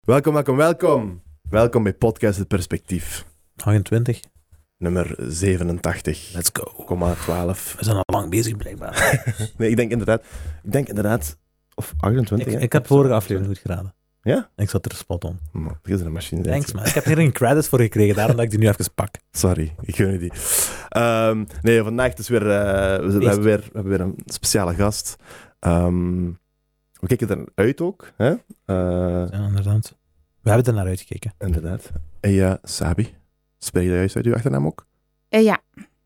Welkom, welkom, welkom. Welkom bij Podcast Het Perspectief, 28. nummer 87,12. Let's go. We zijn al lang bezig, blijkbaar. Nee, ik denk inderdaad, ik denk inderdaad, of 28. Ik, hè? ik heb vorige aflevering goed geraden. Ja? Ik zat er spot on. Man, je is een machine. zeg. Thanks, man. Ik heb hier geen credits voor gekregen, daarom dat ik die nu even pak. Sorry, ik gun je die. Ehm, nee, vandaag is weer, eh, we, we Feest. hebben weer, we hebben weer een speciale gast. Ehm, we kijken er uit ook, hè? Eh, Ja, inderdaad. We hebben er naar uitgekeken. inderdaad. Eja Sabi, spreek je dat juist uit uw achternaam ook? Eh, ja.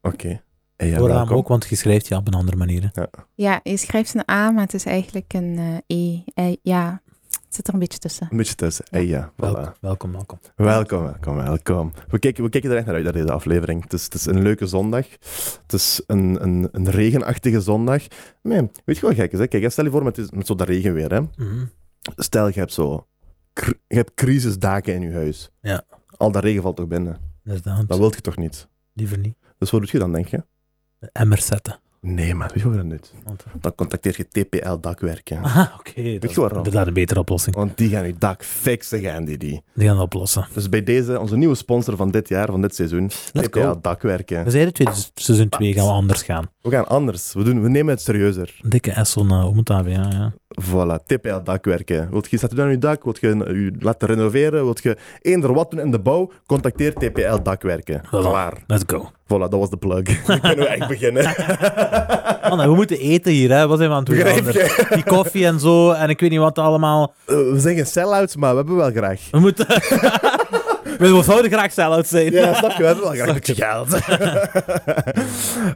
Oké. Eja, Voornaam welkom. ook, want je schrijft je op een andere manier. hè. ja, je schrijft een A, maar het is eigenlijk een eh, E. Eh, ja, het zit er een beetje tussen. Een beetje tussen. Ja. Eja, voilà. Welkom, welkom, welkom. Welkom, welkom, welkom. We kijken, we kijken er echt naar uit, naar deze aflevering. Het is, het is een leuke zondag. Het is een, een, een regenachtige zondag. Nee, weet je wat gek is? Hè? Kijk, hè, stel je voor met, dit- met zo dat regenweer. Hè? Mhm. Stel, je hebt zo... cr- Je hebt crisisdaken in je huis. Ja. Al dat regen valt toch binnen? Inderdaad. Dat wil je toch niet? Liever niet. Dus wat doe je dan, denk je? De Emmers zetten. Nee, maar weet je wat je dan doet? Want- Dan contacteer je TPL-dakwerken. Aha, oké. Dat Weet is je waarom? inderdaad een betere oplossing. Want die gaan je dak fixen, gaan die die. Die gaan dat oplossen. Dus bij deze, onze nieuwe sponsor van dit jaar, van dit seizoen, Let's go. Dus- TPL-dakwerken. We zeiden tweede seizoen 2 gaan we anders gaan. We gaan anders. We, doen, we nemen het serieuzer. Dikke S eh, naar Omotabe, ja, ja. Voilà, TPL dakwerken. Wilt je zetten aan je dak? Wilt je je laten renoveren? Wilt je eender wat doen in de bouw? Contacteer TPL dakwerken. Klaar. Let's go. Voilà, dat was de plug. Dan kunnen we echt beginnen. Eh, Man, we moeten eten hier, hè. Wat zijn we aan het doen? Begrijp je? anders? Die koffie en zo, en ik weet niet wat allemaal. Eh, we zeggen sell-outs, maar we hebben wel graag. We moeten... we zouden graag sell-out zijn. Ja, snap je? We hebben wel graag. Snap je geld.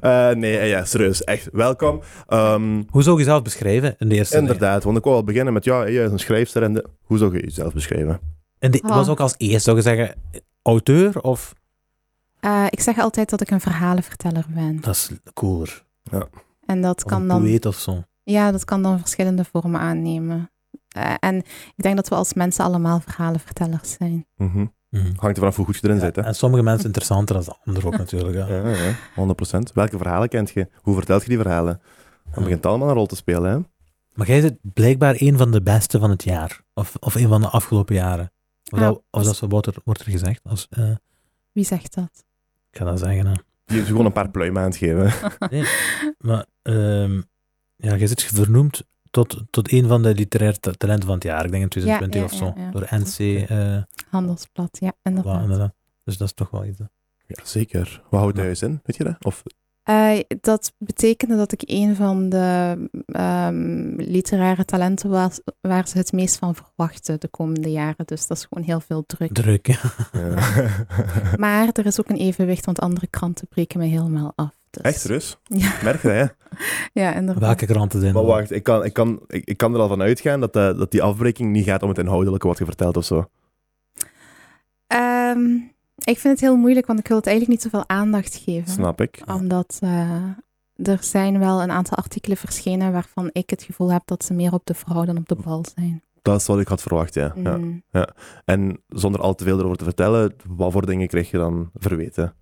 Eh, nee, eh, ja, serieus. Echt, welkom. Ehm, Hoe zou je jezelf beschrijven in de eerste? inderdaad, want ik wou al beginnen met, ja, jij is een schrijfster en de- Hoe zou je jezelf beschrijven? En dit was ook als eerste, zou je zeggen, auteur of... Eh, ik zeg altijd dat ik een verhalenverteller ben. Dat is cooler. En dat Of een kan dan, poëet of zo. ja, dat kan dan verschillende vormen aannemen. Eh, en ik denk dat we als mensen allemaal verhalenvertellers zijn. Mhm. Mhm. Hangt er vanaf hoe goed je erin zit, hè? En sommige mensen interessanter dan de anderen ook natuurlijk. Ja. Ja, ja, 100%. Welke verhalen kent je? Hoe vertelt je die verhalen? Dan begint het allemaal een rol te spelen, hè? Maar jij zit blijkbaar een van de beste van het jaar. Of, of een van de afgelopen jaren. Of, Ja, dat, of dat dat is- zo wordt er, wordt er gezegd. Als, eh, Wie zegt dat? ik ga dat zeggen, hè. Je hebt gewoon een paar pluimen aan het geven. Maar ehm, ja, jij zit vernoemd tot, tot een van de literaire ta- talenten van het jaar. Ik denk in 2020 Ja, of ja, zo. ja, ja. Door NC. eh, Handelsblad, ja, voilà, inderdaad. inderdaad. Dus dat is toch wel iets. hè. Ja, zeker. Wat houdt Ja. hij juist in? Weet je dat? Of Eh, dat betekende dat ik een van de ehm, literaire talenten was waar ze het meest van verwachten de komende jaren. Dus dat is gewoon heel veel druk. Druk. hè. ja. Maar er is ook een evenwicht, want andere kranten breken me helemaal af. Dus. echt rust? Ja. Merk je dat, hè? Ja, inderdaad. Welke kranten zijn Maar dat? wacht, ik kan, ik, kan, ik, ik kan er al van uitgaan dat, eh, dat die afbreking niet gaat om het inhoudelijke wat je vertelt of zo. Ehm, ik vind het heel moeilijk, want ik wil het eigenlijk niet zoveel aandacht geven. Snap ik. Omdat eh, er zijn wel een aantal artikelen verschenen waarvan ik het gevoel heb dat ze meer op de vrouw dan op de bal zijn. Dat is wat ik had verwacht, ja. ja. Mm. En zonder al te veel erover te vertellen, wat voor dingen krijg je dan verweten?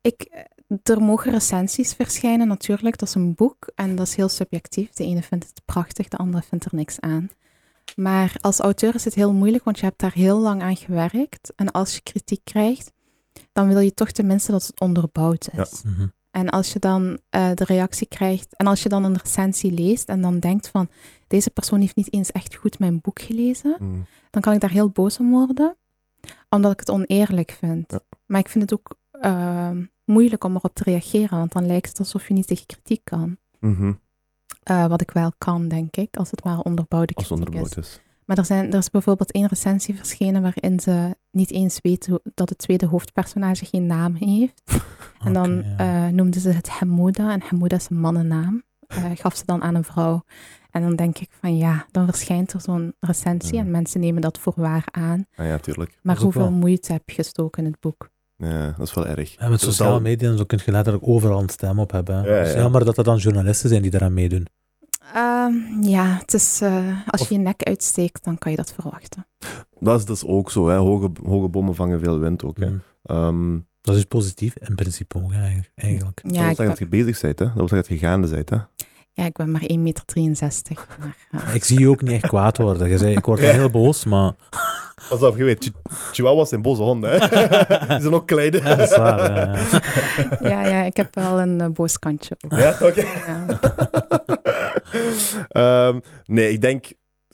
Ik, eh, er mogen recensies verschijnen, natuurlijk. Dat is een boek en dat is heel subjectief. De ene vindt het prachtig, de andere vindt er niks aan. Maar als auteur is het heel moeilijk, want je hebt daar heel lang aan gewerkt. En als je kritiek krijgt, dan wil je toch tenminste dat het onderbouwd is. Mhm. En als je dan eh, de reactie krijgt, en als je dan een recensie leest en dan denkt van, deze persoon heeft niet eens echt goed mijn boek gelezen, Mm. dan kan ik daar heel boos om worden, omdat ik het oneerlijk vind. Ja. Maar ik vind het ook ehm, moeilijk om erop te reageren, want dan lijkt het alsof je niet tegen kritiek kan. Mhm. Eh, wat ik wel kan, denk ik, als het maar onderbouwde Als het kritiek onderbouwd is. is. Maar er, zijn, er is bijvoorbeeld één recensie verschenen waarin ze niet eens weten hoe- dat het tweede hoofdpersonage geen naam heeft. En dan Oké, ja. eh, noemden ze het Hamouda en Hamouda is een mannennaam. Eh, gaf ze dan aan een vrouw. En dan denk ik van ja, dan verschijnt er zo'n recensie Ja. en mensen nemen dat voor waar aan. Ah, ja, tuurlijk. Dat Maar is ook hoeveel wel- moeite heb je gestoken in het boek? Ja, dat is wel erg. Ja, met Dus sociale dan- media en zo kun je letterlijk overal een stem op hebben. hè. Ja, Het is ja. jammer dat er dan journalisten zijn die daaraan meedoen. Ehm, ja, het is, eh, als Of- je je nek uitsteekt, dan kan je dat verwachten. Dat is, dat is ook zo, hè. Hoge, hoge bommen vangen veel wind ook, hè. Mhm. Ehm, Dat is positief in principe ook, hè, eigenlijk. dat Ja, ik wil zeggen dat je bezig bent, hè? Dat wil zeggen dat je gaande bent, hè? Ja, ik ben maar 1,63 meter. Maar, eh, Ik zie je ook niet echt kwaad worden. Je zei, ik word wel heel boos, maar Pas op, je weet, chi- chihuahuas zijn boze honden, hè. Die zijn ook klein. ja, dat is waar. eh, ja, ja. ja, ja, ik heb wel een eh, boos kantje. eh, Ja, oké. Ja. Ehm, nee, ik denk...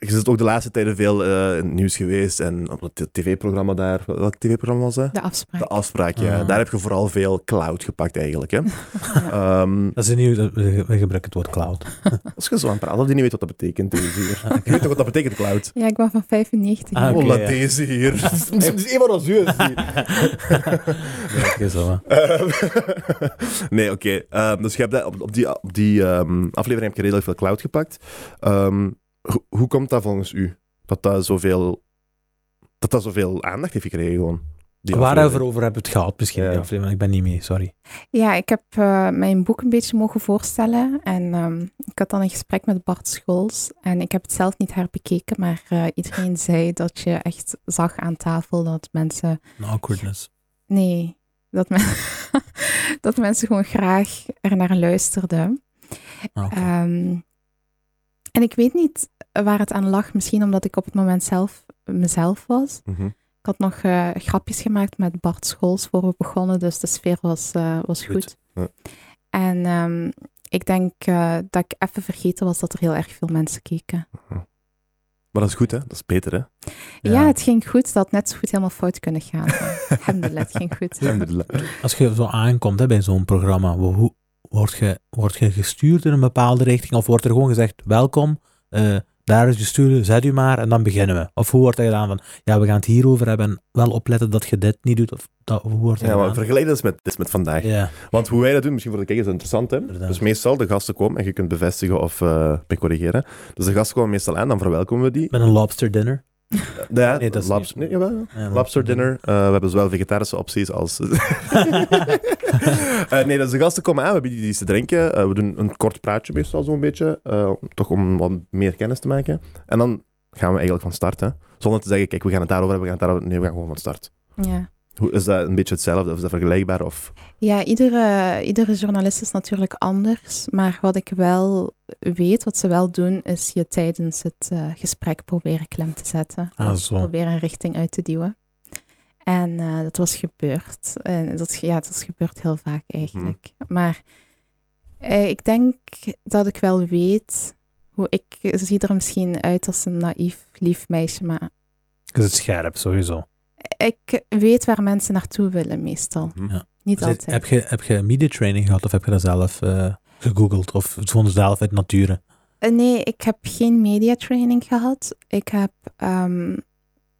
Je zit ook de laatste tijden veel eh, in het nieuws geweest en op het tv-programma daar... Welk tv-programma was dat? De afspraak. De afspraak, ja. Ah. Daar heb je vooral veel cloud gepakt eigenlijk. Hè. Ehm, Dat is een nieuw, we gebruiken het woord cloud. als je zo aan het praten, of die niet weet wat dat betekent, deze hier. Je weet toch wat dat betekent, cloud? Ja, ik ben van 95. Ah, Oh, oké, laat ja. deze hier. Het is een van ons hier. Ja, oké, zo, hè. Ehm, nee, oké. Ehm, dus je hebt dat, op, op die, op die ehm, aflevering heb je redelijk veel cloud gepakt. Ehm, ho- hoe komt dat volgens u? Dat dat zoveel, dat dat zoveel aandacht heeft gekregen gewoon? Die Waarover aflevering. over hebben we het gehad misschien? Ja. die aflevering? Ik ben niet mee, sorry. Ja, ik heb eh, mijn boek een beetje mogen voorstellen. En ehm, ik had dan een gesprek met Bart Scholz. En ik heb het zelf niet herbekeken, maar eh, iedereen zei dat je echt zag aan tafel dat mensen. Een awkwardness. Nee, dat, men- dat mensen gewoon graag er naar luisterden. Ah, oké. Ehm, en ik weet niet waar het aan lag. Misschien omdat ik op het moment zelf mezelf was. Mhm. Ik had nog eh, grapjes gemaakt met Bart Scholz voor we begonnen, dus de sfeer was, eh, was goed. Goed. Ja. En ehm, ik denk eh, dat ik even vergeten was dat er heel erg veel mensen keken. Maar dat is goed, hè? Dat is beter, hè? Ja, het ging goed. Dat had net zo goed helemaal fout kunnen gaan. Alhamdulillah, het ging goed. Alhamdulillah. Als je zo aankomt hè, bij zo'n programma, wo- hoe, word, je, word je gestuurd in een bepaalde richting? Of wordt er gewoon gezegd, welkom, eh, daar is je stuur, zet u maar en dan beginnen we? Of hoe wordt dat gedaan van, ja, we gaan het hierover hebben en wel opletten dat je dit niet doet? Of dat, hoe wordt dat Ja, maar gedaan? vergelijk dat eens met, dit is met vandaag. Ja, Want hoe wij dat doen, misschien voor de kijkers is interessant, hè? Inderdaad. Dus meestal, de gasten komen en je kunt bevestigen of eh me corrigeren. Dus de gasten komen meestal aan, dan verwelkomen we die. met een lobster dinner. Ja, Nee, dat is labs- niet- nee, jawel, ja. Ja, Lobster dinner. Eh, we hebben zowel vegetarische opties als... Eh, nee, dus de gasten komen aan, we bieden die iets te drinken. Eh, we doen een kort praatje meestal zo'n beetje, eh, om- toch om wat meer kennis te maken. En dan gaan we eigenlijk van start, hè. Zonder te zeggen, kijk, we gaan het daarover hebben, we gaan het daarover... Nee, we gaan gewoon van start. Ja. Hoe, is dat een beetje hetzelfde? Of is dat vergelijkbaar? Of... Ja, iedere, iedere journalist is natuurlijk anders. Maar wat ik wel weet, wat ze wel doen, is je tijdens het eh, gesprek proberen klem te zetten. Ah, Of zo. Proberen een richting uit te duwen. En eh, dat was gebeurd. En dat, ja, dat gebeurt heel vaak Mhm. eigenlijk. Maar eh, ik denk dat ik wel weet hoe ik... Ze ziet er misschien uit als een naïef, lief meisje, maar Je zit scherp, sowieso. ik weet waar mensen naartoe willen meestal. Mhm. Ja. Niet Zit- altijd. Dus heb, je, heb je media training gehad of heb je dat zelf eh, gegoogeld? Of het gewoon zelf uit nature? Eh, Nee, ik heb geen mediatraining gehad. Ik heb ehm,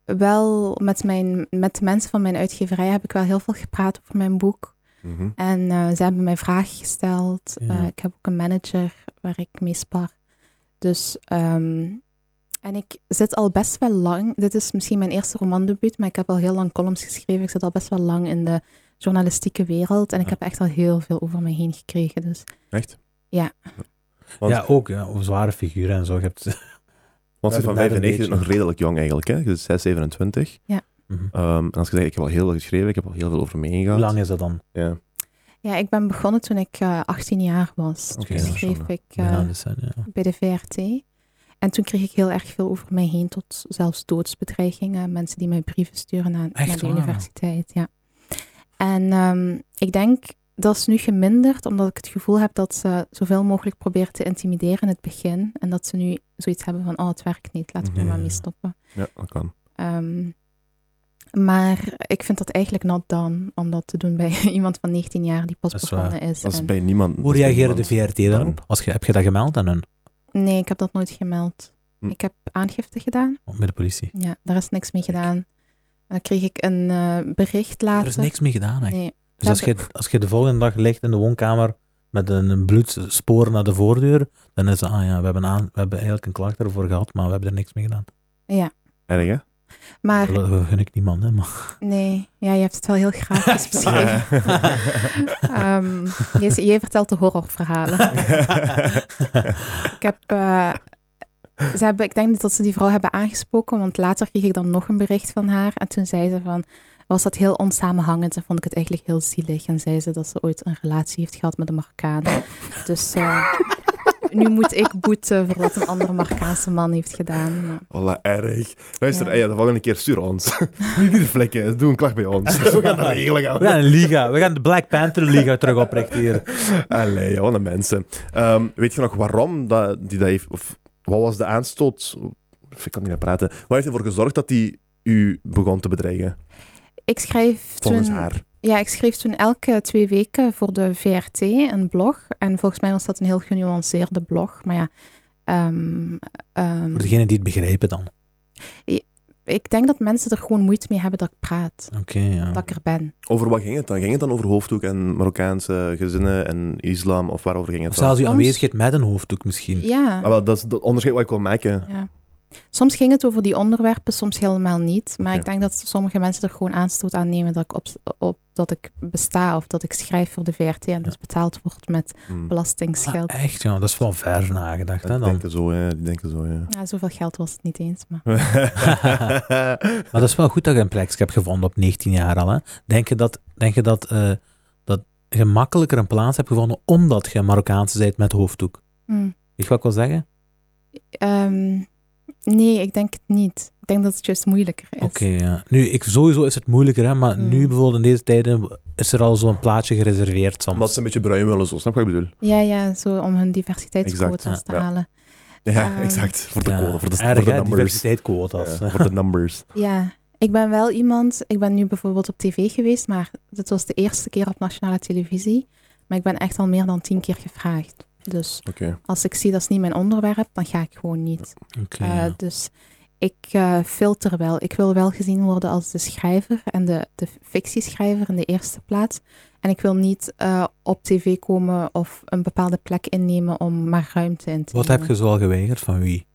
wel met, mijn, met de mensen van mijn uitgeverij heb ik wel heel veel gepraat over mijn boek. Mhm. En eh, ze hebben mij vragen gesteld. Ja. Eh, ik heb ook een manager waar ik mee spar. Dus, ehm, en ik zit al best wel lang. Dit is misschien mijn eerste romandebuut, maar ik heb al heel lang columns geschreven. Ik zit al best wel lang in de journalistieke wereld. En ik Ja. heb echt al heel veel over me heen gekregen. Dus Echt? Want- Ja, ook. Ja, over zware figuren en zo. Je hebt, Want je bent van Net een 95 is beetje. nog redelijk jong eigenlijk, hè? Je bent 6, 27. Mhm. Ehm, en als je zegt, ik heb al heel veel geschreven, ik heb al heel veel over me heen Hoe gehad. lang is dat dan? Ja. Ja, ik ben begonnen toen ik eh, 18 jaar was. Oké, toen dat is schreef zonde. ik eh, Bijna dus, hè, ja. bij de VRT. En toen kreeg ik heel erg veel over mij heen, tot zelfs doodsbedreigingen. Mensen die mij brieven sturen naar, Echt naar de waar? universiteit. Ja. En ehm, ik denk, dat is nu geminderd, omdat ik het gevoel heb dat ze zoveel mogelijk proberen te intimideren in het begin. En dat ze nu zoiets hebben van, oh, het werkt niet, laten we er Ja, maar ja, mee ja. stoppen. ja, dat kan. Ehm, maar ik vind dat eigenlijk not done om dat te doen bij iemand van 19 jaar die pas Dat is begonnen is. Dat is En- bij niemand. Hoe reageerde de VRT daarop? Als je, heb je dat gemeld aan hun? Nee, ik heb dat nooit gemeld. Hm. Ik heb aangifte gedaan. Bij de politie? Ja, daar is niks mee Kijk. gedaan. En dan kreeg ik een eh, bericht later. Er is niks mee gedaan, echt. Nee. Dus als je, als je de volgende dag ligt in de woonkamer met een een bloedspoor naar de voordeur, dan is het, ah ja, we hebben, aan, we hebben eigenlijk een klacht ervoor gehad, maar we hebben er niks mee gedaan. Erg, hè? Maar Dat dat gun ik niemand, hè. Maar, nee, ja, je hebt het wel heel grafisch beschreven. Ehm, je, jij vertelt de horrorverhalen. Ik heb, eh, ze hebben, ik denk dat ze die vrouw hebben aangesproken, want later kreeg ik dan nog een bericht van haar. En toen zei ze van, was dat heel onsamenhangend en vond ik het eigenlijk heel zielig. En zei ze dat ze ooit een relatie heeft gehad met een Marokkaan. Dus eh, nu moet ik boeten voor wat een andere Marokkaanse man heeft gedaan. Maar- Voilà, erg. Luister, Ja. eh, ja, de volgende keer stuur ons. Niet hier vlekken, doe een klacht bij ons. We gaan dat regelen. gaan We we. gaan een liga. We gaan de Black Panther Liga terug oprichten hier. Allee, wat een mensen. Ehm, weet je nog waarom dat, die dat heeft... Of wat was de aanstoot? Ik kan niet meer praten. Wat heeft ervoor gezorgd dat hij u begon te bedreigen? Ik schrijf Volgens toen... haar. Ja, ik schreef toen elke twee weken voor de VRT een blog. En volgens mij was dat een heel genuanceerde blog. Maar ja, ehm, ehm, Voor degenen die het begrijpen dan. Oké, ik denk dat mensen er gewoon moeite mee hebben dat ik praat. ja. Dat ik er ben. Over wat ging het dan? Ging het dan over hoofddoek en Marokkaanse gezinnen en islam? Of waarover ging het Of dan? zelfs uw Soms- aanwezigheid met een hoofddoek misschien. Ah, Ja, wel, dat is het onderscheid wat ik wil maken. ja. Soms ging het over die onderwerpen, soms helemaal niet. Maar ik Oké. denk dat sommige mensen er gewoon aanstoot aan nemen dat ik, op, op, dat ik besta of dat ik schrijf voor de VRT en dus betaald word met Hm. Ah, belastingsgeld. echt, ja. Dat is wel ver nagedacht, hè, Die dan. denken zo, ja. Die denken zo, ja. Ja, zoveel geld was het niet eens. Maar... Maar dat is wel goed dat je een plekje hebt gevonden op 19 jaar al. Hè? Denk je dat, denk je dat, eh, dat je makkelijker een plaats hebt gevonden omdat je Marokkaanse bent met hoofddoek? Hm. Weet je wat ik wil zeggen? Ehm, nee, ik denk het niet. Ik denk dat het juist moeilijker is. Oké, ja. Nu, ik, sowieso is het moeilijker, hè, maar Hmm. nu bijvoorbeeld in deze tijden is er al zo'n plaatsje gereserveerd soms. Omdat ze een beetje bruin willen, zo. Snap je wat ik bedoel? Ja, ja, zo om hun diversiteitsquotas Exact, te ja. halen. Ja, Ehm, exact. Voor de Ah. Ja, code, voor de, erg, voor de hè, numbers. diversiteit quotas. Ja, voor de numbers. Ja, ik ben wel iemand... Ik ben nu bijvoorbeeld op tv geweest, maar dit was de eerste keer op nationale televisie. Maar ik ben echt al meer dan tien keer gevraagd. Dus Oké. als ik zie dat is niet mijn onderwerp, dan ga ik gewoon niet. Oké, Eh, ja. dus ik eh, filter wel. Ik wil wel gezien worden als de schrijver en de, de fictieschrijver in de eerste plaats. En ik wil niet eh, op tv komen of een bepaalde plek innemen om maar ruimte in te Wat nemen. heb je zoal geweigerd van wie?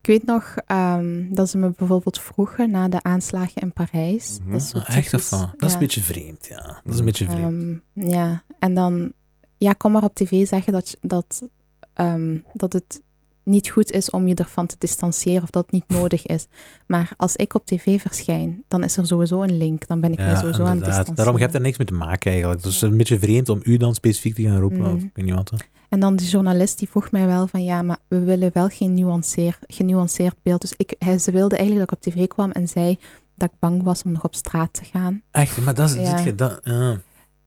Ik weet nog ehm, dat ze me bijvoorbeeld vroegen na de aanslagen in Parijs. Mhm. Dat is zo Ah, echt of typisch. van? Dat is Ja. een beetje vreemd, ja. Dat is een beetje vreemd. Ehm, ja, en dan, ja, kom maar op tv zeggen dat, je- dat, ehm, dat het niet goed is om je ervan te distancieren of dat het niet nodig is. Maar als ik op tv verschijn, dan is er sowieso een link. Dan ben ik mij ja, sowieso aan het inderdaad. distancieren. Daarom, je hebt er niks mee te maken eigenlijk. Dus het is een beetje vreemd om u dan specifiek te gaan roepen. Mhm. Of, ik weet niet wat. hè. En dan die journalist die vroeg mij wel van ja, maar we willen wel geen nuanceer, genuanceerd beeld. Dus ik, hij, ze wilde eigenlijk dat ik op tv kwam en zei dat ik bang was om nog op straat te gaan. Echt, maar dat is, Ja. zit je, dat, ja,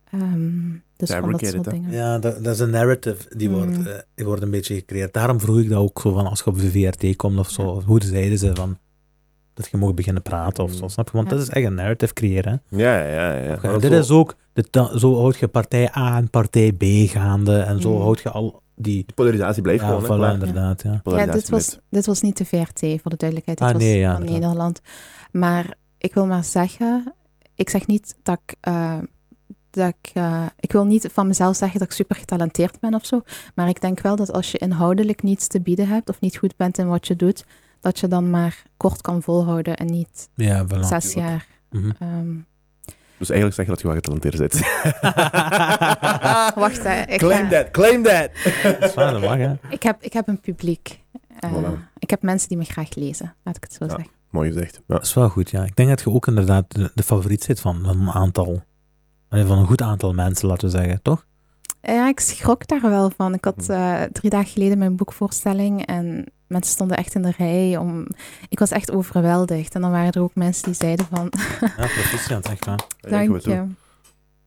Ehm, dus van dat Fabricated, soort hè? dingen. ja dat, dat is een narrative die, Mm. wordt, eh, die wordt een beetje gecreëerd. Daarom vroeg ik dat ook zo van als je op de VRT komt of zo. Hoe zeiden ze van dat je mocht beginnen praten of zo, snap je? Want Mm. Ja. dat is echt een narrative creëren. hè. Ja, ja, ja. En Maar dit zo- is ook, dit, da- zo houd je partij A en partij B gaande en zo Mm. houd je al die... Die polarisatie blijft Ja, gewoon. hè, voilà, klaar. inderdaad, ja. Ja, Polarisatie dit was, blijft. dit was niet de VRT, voor de duidelijkheid. Dit Ah, was nee, ja, van inderdaad. Nederland. Maar ik wil maar zeggen, ik zeg niet dat ik... eh, dat ik, eh, ik wil niet van mezelf zeggen dat ik super getalenteerd ben of zo. Maar ik denk wel dat als je inhoudelijk niets te bieden hebt of niet goed bent in wat je doet, dat je dan maar kort kan volhouden en niet Ja, voilà. zes jaar. Mhm. ehm, Dus eigenlijk zeg je dat je wel getalenteerd bent. wacht, hè, ik, claim ga- that, claim that! Dat is waar, dat mag, hè. ik, heb, ik heb een publiek. Eh, Voilà. Ik heb mensen die me graag lezen, laat ik het zo Ja. zeggen. Mooi gezegd. Ja. Dat is wel goed, ja. Ik denk dat je ook inderdaad de, de favoriet zit van een aantal. Allee, Van een goed aantal mensen, laten we zeggen, toch? Ja, ik schrok daar wel van. Ik had Hm. eh, drie dagen geleden mijn boekvoorstelling en mensen stonden echt in de rij. Om... Ik was echt overweldigd. En dan waren er ook mensen die zeiden van, Ja, proficiat, echt waar. dank je.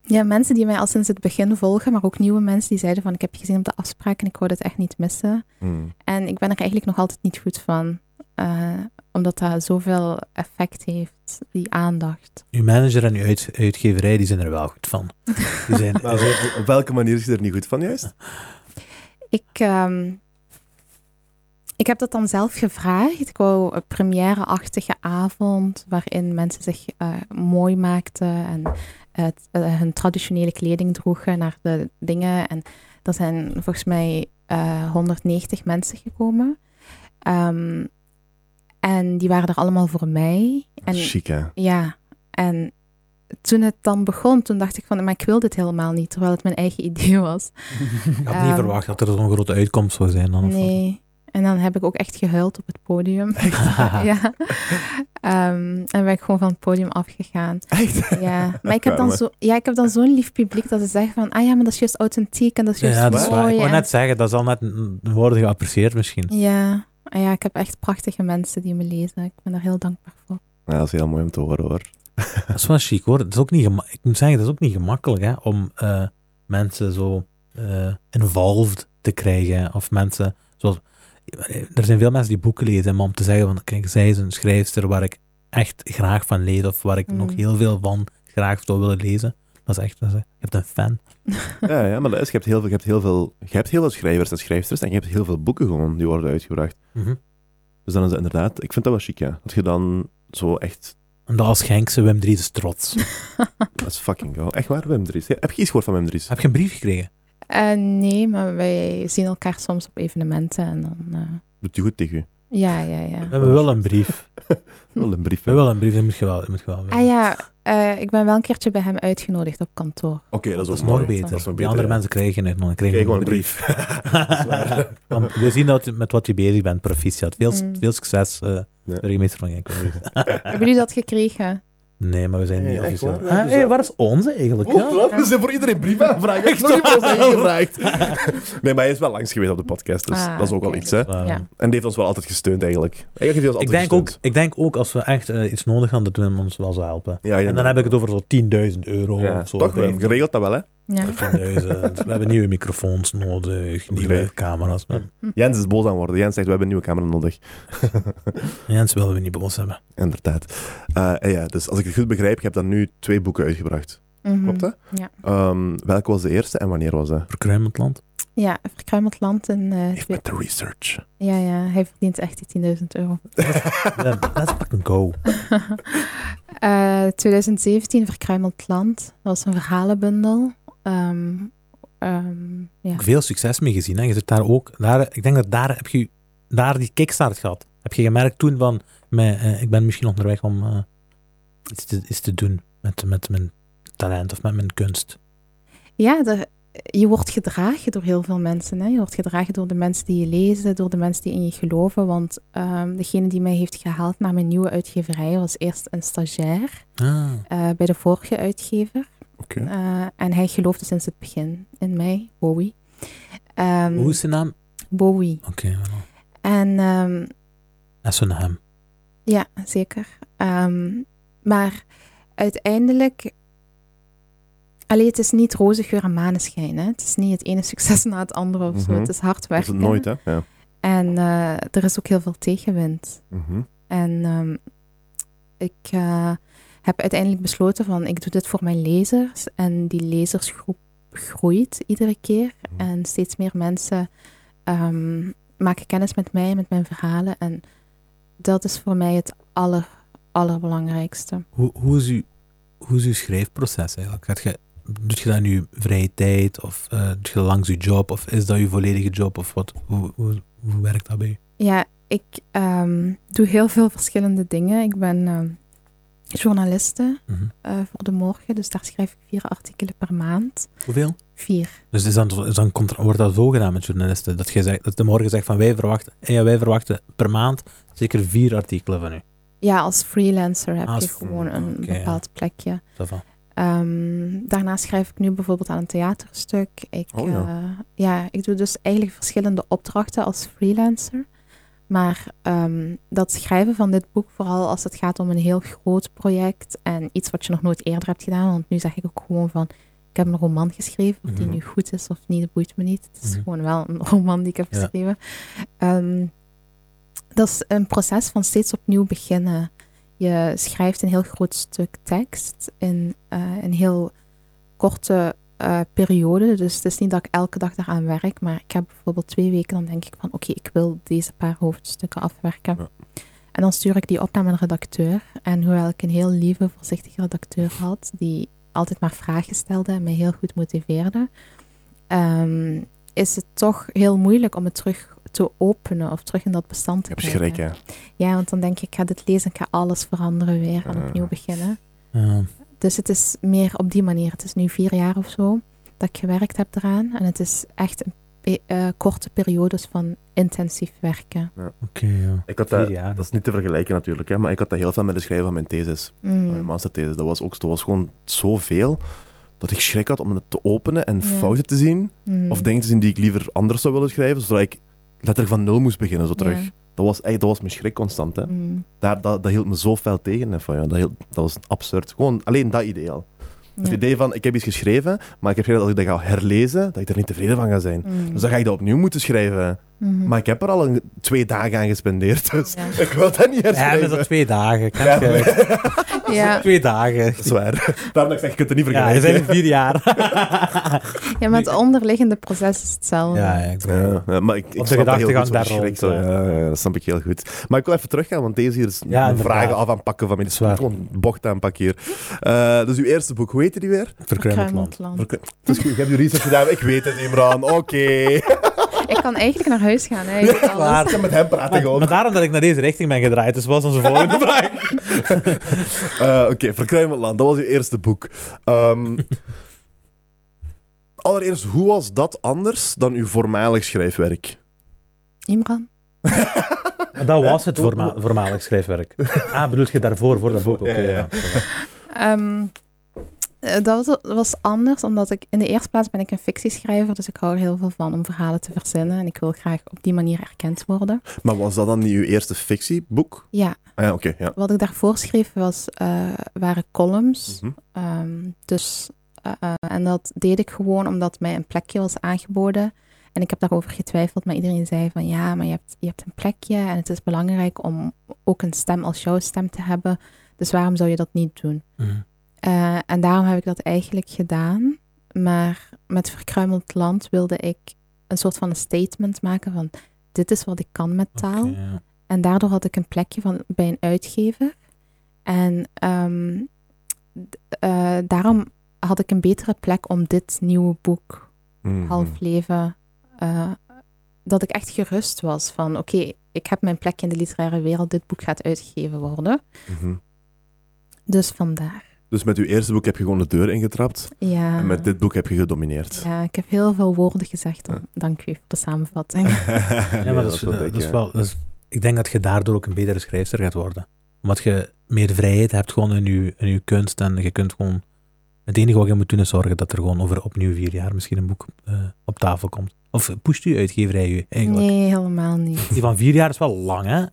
Ja, mensen die mij al sinds het begin volgen, maar ook nieuwe mensen die zeiden van, ik heb je gezien op de afspraak en ik wou dit echt niet missen. Hm. En ik ben er eigenlijk nog altijd niet goed van, eh, omdat dat zoveel effect heeft, die aandacht. Uw manager en uw uit- uitgeverij, die zijn er wel goed van. Die zijn, Maar op- op welke manier is je er niet goed van, juist? Ik, ehm, ik heb dat dan zelf gevraagd. Ik wou een première-achtige avond waarin mensen zich eh, mooi maakten en het, eh, hun traditionele kleding droegen naar de dingen. En er zijn volgens mij eh, 190 mensen gekomen. Ehm, en die waren er allemaal voor mij. En Chic, hè? ja, en toen het dan begon, toen dacht ik van, maar ik wil dit helemaal niet, terwijl het mijn eigen idee was. ik had niet Ehm, verwacht dat er zo'n grote uitkomst zou zijn. Dan, of wat. Nee. En dan heb ik ook echt gehuild op het podium. Ah. ja. Ehm, en ben ik gewoon van het podium afgegaan. Echt? Ja, maar ik heb dan, Karma. zo, ja, ik heb dan zo'n lief publiek dat ze zeggen van, ah ja, maar dat is juist authentiek en dat is juist Ja, dat is mooi. waar. Ik wou en- net zeggen, dat zal net mm, worden geapprecieerd misschien. ja. En ja, ik heb echt prachtige mensen die me lezen. Ik ben daar heel dankbaar voor. Ja, dat is heel mooi om te horen hoor. Dat is wel chic hoor. Dat is ook niet gema- ik moet zeggen, dat is ook niet gemakkelijk hè, om eh, mensen zo eh, involved te krijgen. Of mensen zoals. Er zijn veel mensen die boeken lezen, maar om te zeggen van kijk, zij is een schrijfster waar ik echt graag van lees. Of waar ik Mm. nog heel veel van graag zou willen lezen. Dat is echt. dat is- je hebt een fan. Ja, ja maar dat is, je, hebt heel veel, je, hebt heel veel, je hebt heel veel schrijvers en schrijfsters en je hebt heel veel boeken gewoon die worden uitgebracht. Mhm. Dus dan is dat inderdaad, ik vind dat wel chic, ja. Dat je dan zo echt, En dat als Genkse Wim Dries is trots. dat is fucking go. Echt waar, Wim Dries. Ja, heb je iets gehoord van Wim Dries? Heb je een brief gekregen? Eh, nee, maar wij zien elkaar soms op evenementen en dan... eh, Doet hij goed tegen u? ja, ja, ja. We hebben wel een brief. Hm. Wel een brief. We hè? hebben wel een brief, dat moet je wel. dat Moet je wel Ah ja, eh, ik ben wel een keertje bij hem uitgenodigd op kantoor. Oké, dat is Dat is ook nog mooi. beter. Dat is nog Die beter, andere ja. mensen krijgen het, man. Dan Krijg krijgen gewoon een een brief. brief. Dat is waar. Want we zien dat je- met wat je bezig bent, proficiat. Veel, Mm. veel succes, eh Ja. burgemeester van Genk. Hebben jullie dat gekregen? Nee, maar we zijn Nee, niet echt officieel. waar? Ah, Dus hey, dat- waar is onze eigenlijk? Oh, Ja? wat? we zijn voor iedereen brief aanvragen. Ik heb nog niet voor ons ingevraagd. Nee, maar hij is wel langs geweest op de podcast, dus Ah, dat is ook wel oké. iets, hè. En Waarom? Ja. die heeft ons wel altijd gesteund, eigenlijk. Eigenlijk heeft hij ons Ehm, Ik, altijd denk ook, gesteund. ik denk ook als we echt eh, iets nodig gaan, dat we ons wel zou helpen. Ja, ja, En dan heb ik het over zo'n 10.000 euro Ja, of zo. toch wel. Geregeld dat wel, hè? Ja. 10.000. We hebben nieuwe microfoons nodig, nieuwe Begrijp. camera's. Maar Jens is boos aan worden. Jens zegt, we hebben een nieuwe camera nodig. Jens willen we niet boos hebben. Inderdaad. Eh, en ja, dus als ik het goed begrijp, je hebt dan nu twee boeken uitgebracht. Mhm. Klopt dat? Ja. Ehm, welke was de eerste en wanneer was dat? Verkruimend land. Ja, verkruimeld land en... eh, Even met de research. ja, ja, hij verdient echt die 10.000 euro. Ja, Let's fucking go. Eh, 2017 Verkruimeld Land. Dat was een verhalenbundel. Ehm, ehm, ja. Ook Veel succes mee gezien. Hè? Je zit daar ook. Daar, ik denk dat daar heb je daar die kickstart gehad. Heb je gemerkt toen van mijn, eh, ik ben misschien onderweg om eh, iets, te, iets te doen met, met mijn talent of met mijn kunst. ja, er- je wordt gedragen door heel veel mensen. Hè? Je wordt gedragen door de mensen die je lezen, door de mensen die in je geloven. Want ehm, degene die mij heeft gehaald naar mijn nieuwe uitgeverij was eerst een stagiair eh, bij de vorige uitgever. Oké. Eh, en hij geloofde sinds het begin in mij, Bowie. Ehm, Hoe is zijn naam? Bowie. Oké, wel. En ehm, Essenham. Ja, zeker. Ehm, maar uiteindelijk. Allee, het is niet roze geur en maneschijn. Hè? Het is niet het ene succes na het andere of zo. Mhm. Het is hard Dat is werken. het nooit, hè? Ja. En eh, er is ook heel veel tegenwind. Mhm. En ehm, ik eh, heb uiteindelijk besloten van ik doe dit voor mijn lezers. En die lezersgroep groeit iedere keer. Mhm. En steeds meer mensen ehm, maken kennis met mij, met mijn verhalen. En dat is voor mij het aller, allerbelangrijkste. Hoe, hoe, is uw, hoe is uw schrijfproces eigenlijk? Gaat je, doet je dat in uw vrije tijd? Of eh doet je dat langs uw job? Of is dat uw volledige job? Of wat? Hoe, hoe, hoe werkt dat bij u? Ja, ik ehm, doe heel veel verschillende dingen. Ik ben ehm, journaliste Mhm. eh, voor de morgen, dus daar schrijf ik vier artikelen per maand. Hoeveel? Vier. Dus is dan, is dan contra- wordt dat zo gedaan met journalisten? Dat, jij zegt, dat de morgen zegt van wij verwachten, eh, ja, wij verwachten per maand zeker vier artikelen van u. Ja, als freelancer heb Ah, als je free- gewoon een oké, ja. bepaald plekje. Zo van, Ehm, daarnaast schrijf ik nu bijvoorbeeld aan een theaterstuk. Ik, Oh, ja. eh, ja, ik doe dus eigenlijk verschillende opdrachten als freelancer. Maar ehm, dat schrijven van dit boek, vooral als het gaat om een heel groot project en iets wat je nog nooit eerder hebt gedaan. Want nu zeg ik ook gewoon van, ik heb een roman geschreven. Of die Mhm. nu goed is of niet, dat boeit me niet. Het is Mhm. gewoon wel een roman die ik heb Ja. geschreven. Ehm, dat is een proces van steeds opnieuw beginnen. Je schrijft een heel groot stuk tekst in eh, een heel korte eh, periode. Dus het is niet dat ik elke dag daaraan werk, maar ik heb bijvoorbeeld twee weken, dan denk ik van oké, ik wil deze paar hoofdstukken afwerken. Ja. En dan stuur ik die op naar mijn redacteur. En hoewel ik een heel lieve, voorzichtige redacteur had, die altijd maar vragen stelde en mij heel goed motiveerde, ehm, is het toch heel moeilijk om het terug te openen of terug in dat bestand Ik te heb krijgen. schrik, hè? Ja, want dan denk ik, ik ga dit lezen, ik ga alles veranderen weer en Ja. opnieuw beginnen. ja. Dus het is meer op die manier. Het is nu vier jaar of zo dat ik gewerkt heb eraan. En het is echt een pe- eh, korte periodes van intensief werken. Oké, ja. Ik had Vier dat, jaar. dat is niet te vergelijken natuurlijk, hè, maar ik had dat heel veel met het schrijven van mijn thesis. Mm. Mijn masterthesis. Dat was, ook, dat was gewoon zoveel dat ik schrik had om het te openen en Ja. fouten te zien. Mm. Of dingen te zien die ik liever anders zou willen schrijven, zodat ik letterlijk van nul moest beginnen, zo Ja. terug. Dat was, echt, dat was mijn schrik constant. Hè. Mm. Daar, dat, dat hield me zo fel tegen. hè, Van, ja, dat, hield- dat was absurd. Gewoon alleen dat idee al. Het Ja. idee van, ik heb iets geschreven, maar ik heb geschreven dat ik dat ga herlezen, dat ik er niet tevreden van ga zijn. Mm. Dus dan ga ik dat opnieuw moeten schrijven. Mhm. Maar ik heb er al een, twee dagen aan gespendeerd, dus Ja. ik wil dat niet Ja, herschrijven. met dat twee dagen. Kan Ja, je- Ja. Twee dagen. Dat is waar. Daarom dat ik zeg, je kunt het niet Ja, je vergelijken. bent vier jaar. ja, maar het onderliggende proces is hetzelfde. ja, ja, ik begrijp het. Ja, ja, maar ik, ik de snap dat heel gedachtegang goed, zo'n daar schrik, rond, zo. ja. Ja, ja, dat snap ik heel goed. Maar ik wil even teruggaan, want deze hier is mijn inderdaad. vragen af aanpakken van mijn Dat is waar. gewoon bocht aanpakken hier. Eh, dus uw eerste boek, hoe heette die weer? Verkruimeld land. Kruimelt land. Verkle- Het is goed, ik heb je research gedaan, ik weet het, Imran. Oké. Ik kan eigenlijk naar huis gaan. Hè. Ik weet alles. waar. Ik ga met hem praten Maar, gewoon. maar daarom dat ik naar deze richting ben gedraaid, dus was onze volgende vraag. Eh, Oké, Verkruimeld Land, dat was uw eerste boek. Ehm, allereerst, hoe was dat anders dan uw voormalig schrijfwerk? Imran? Dat was het voorma- voormalig schrijfwerk. Ah, bedoel je daarvoor, voor dat boek? Oké, Ja, ja. ja. Ehm, eh, dat was- was anders, omdat ik in de eerste plaats ben ik een fictieschrijver, dus ik hou er heel veel van om verhalen te verzinnen en ik wil graag op die manier erkend worden. Maar was dat dan niet uw eerste fictieboek? Ja, Ah, ja, oké. ja. wat ik daarvoor schreef was, eh, waren columns. Mhm. Ehm, dus, eh, eh, en dat deed ik gewoon omdat mij een plekje was aangeboden. En ik heb daarover getwijfeld, maar iedereen zei van ja, maar je hebt, je hebt een plekje en het is belangrijk om ook een stem als jouw stem te hebben. Dus waarom zou je dat niet doen? Eh, en daarom heb ik dat eigenlijk gedaan. Maar met Verkruimeld Land wilde ik een soort van een statement maken van dit is wat ik kan met taal. Oké, ja. En daardoor had ik een plekje van, bij een uitgever. En ehm, d- eh, daarom had ik een betere plek om dit nieuwe boek, Mhm. Half Leven, eh, dat ik echt gerust was van oké, ik heb mijn plekje in de literaire wereld, dit boek gaat uitgegeven worden. Mhm. Dus vandaar. Dus met uw eerste boek heb je gewoon de deur ingetrapt. Ja. En met dit boek heb je gedomineerd. Ah. Ja, ik heb heel veel woorden gezegd. Dan, dank u voor de samenvatting. Ja, maar dat is, dat- dat is wel... dat is- ik denk dat je daardoor ook een betere schrijfster gaat worden. Omdat je meer vrijheid hebt gewoon in je, in je kunst en je kunt gewoon... Het enige wat je moet doen is zorgen dat er gewoon over opnieuw vier jaar misschien een boek eh, op tafel komt. Of pusht u uitgeverij u eigenlijk? Nee, helemaal niet. Die van vier jaar is wel lang, hè?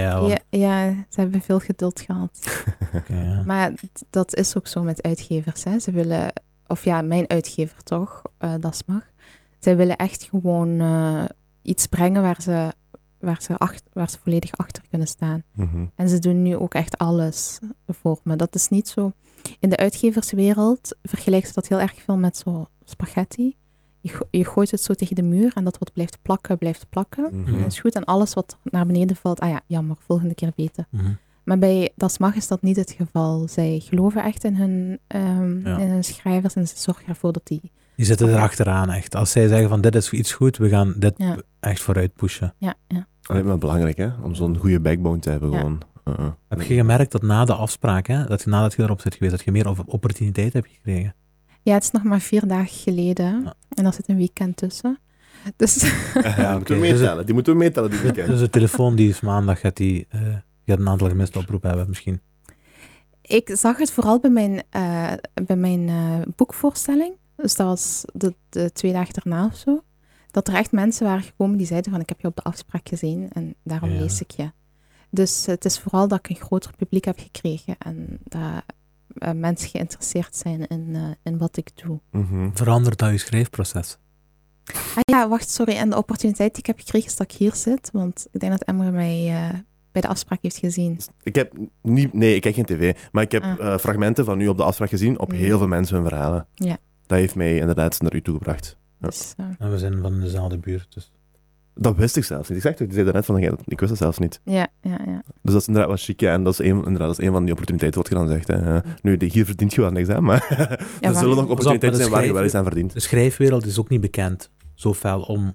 Ja, want- Ja, ja, ze hebben veel geduld gehad. oké, ja. Maar d- dat is ook zo met uitgevers. Hè. Ze willen, of ja, mijn uitgever toch, eh dat mag. Zij willen echt gewoon eh, iets brengen waar ze, waar, ze ach- waar ze volledig achter kunnen staan. Mhm. En ze doen nu ook echt alles voor me. Dat is niet zo. In de uitgeverswereld vergelijken ze dat heel erg veel met zo spaghetti. Je, go- je gooit het zo tegen de muur en dat wat blijft plakken, blijft plakken. Mhm. Dat Ja. is goed. En alles wat naar beneden valt, ah ja, jammer, volgende keer beter. Mhm. Maar bij Das Mag is dat niet het geval. Zij geloven echt in hun, ehm, Ja. in hun schrijvers en ze zorgen ervoor dat die... Die zitten erachteraan echt. Als zij zeggen van dit is iets goed, we gaan dit Ja. echt vooruit pushen. Ja, ja. Alleen maar belangrijk, hè? Om zo'n goede backbone te hebben, Ja. gewoon. Uh-uh. Heb je gemerkt dat na de afspraak, hè, dat je, nadat je erop zit geweest, dat je meer op- opportuniteit hebt gekregen? ja, het is nog maar vier dagen geleden. Ja. En daar zit een weekend tussen. Dus Ja, Die oké. moeten we meetellen. Die moeten we meetellen die weekend. Dus de telefoon die is maandag, gaat die, eh, die gaat een aantal gemiste oproepen hebben misschien. ik zag het vooral bij mijn, eh, bij mijn eh, boekvoorstelling. Dus dat was de, de twee dagen daarna of zo. Dat er echt mensen waren gekomen die zeiden van ik heb je op de afspraak gezien en daarom Ja. lees ik je. Dus het is vooral dat ik een groter publiek heb gekregen en dat eh, mensen geïnteresseerd zijn in, eh, in wat ik doe. Mhm. Verandert dat je schrijfproces? Ah ja, wacht, sorry. En de opportuniteit die ik heb gekregen is dat ik hier zit. Want ik denk dat Emre mij eh, bij de afspraak heeft gezien. Ik heb niet... Nee, ik kijk geen tv. Maar ik heb Ah. eh, fragmenten van u op de afspraak gezien op Mm. heel veel mensen hun verhalen. Ja. Dat heeft mij inderdaad naar u toegebracht. Ja. Dus, eh, En we zijn van dezelfde buurt, dus... Dat wist ik zelfs niet. Ik zeg het, ik zei daarnet van, ik wist dat zelfs niet. ja, ja, ja. Dus dat is inderdaad wel chic, ja. En dat is een, inderdaad, dat is een van die opportuniteiten wat je dan zegt. Hè. Eh, Nu, die- hier verdient je wel niks aan, maar er waar. zullen nog opportuniteiten dat zijn waar je schrijf- wel eens aan verdient. De schrijfwereld is ook niet bekend zo fel om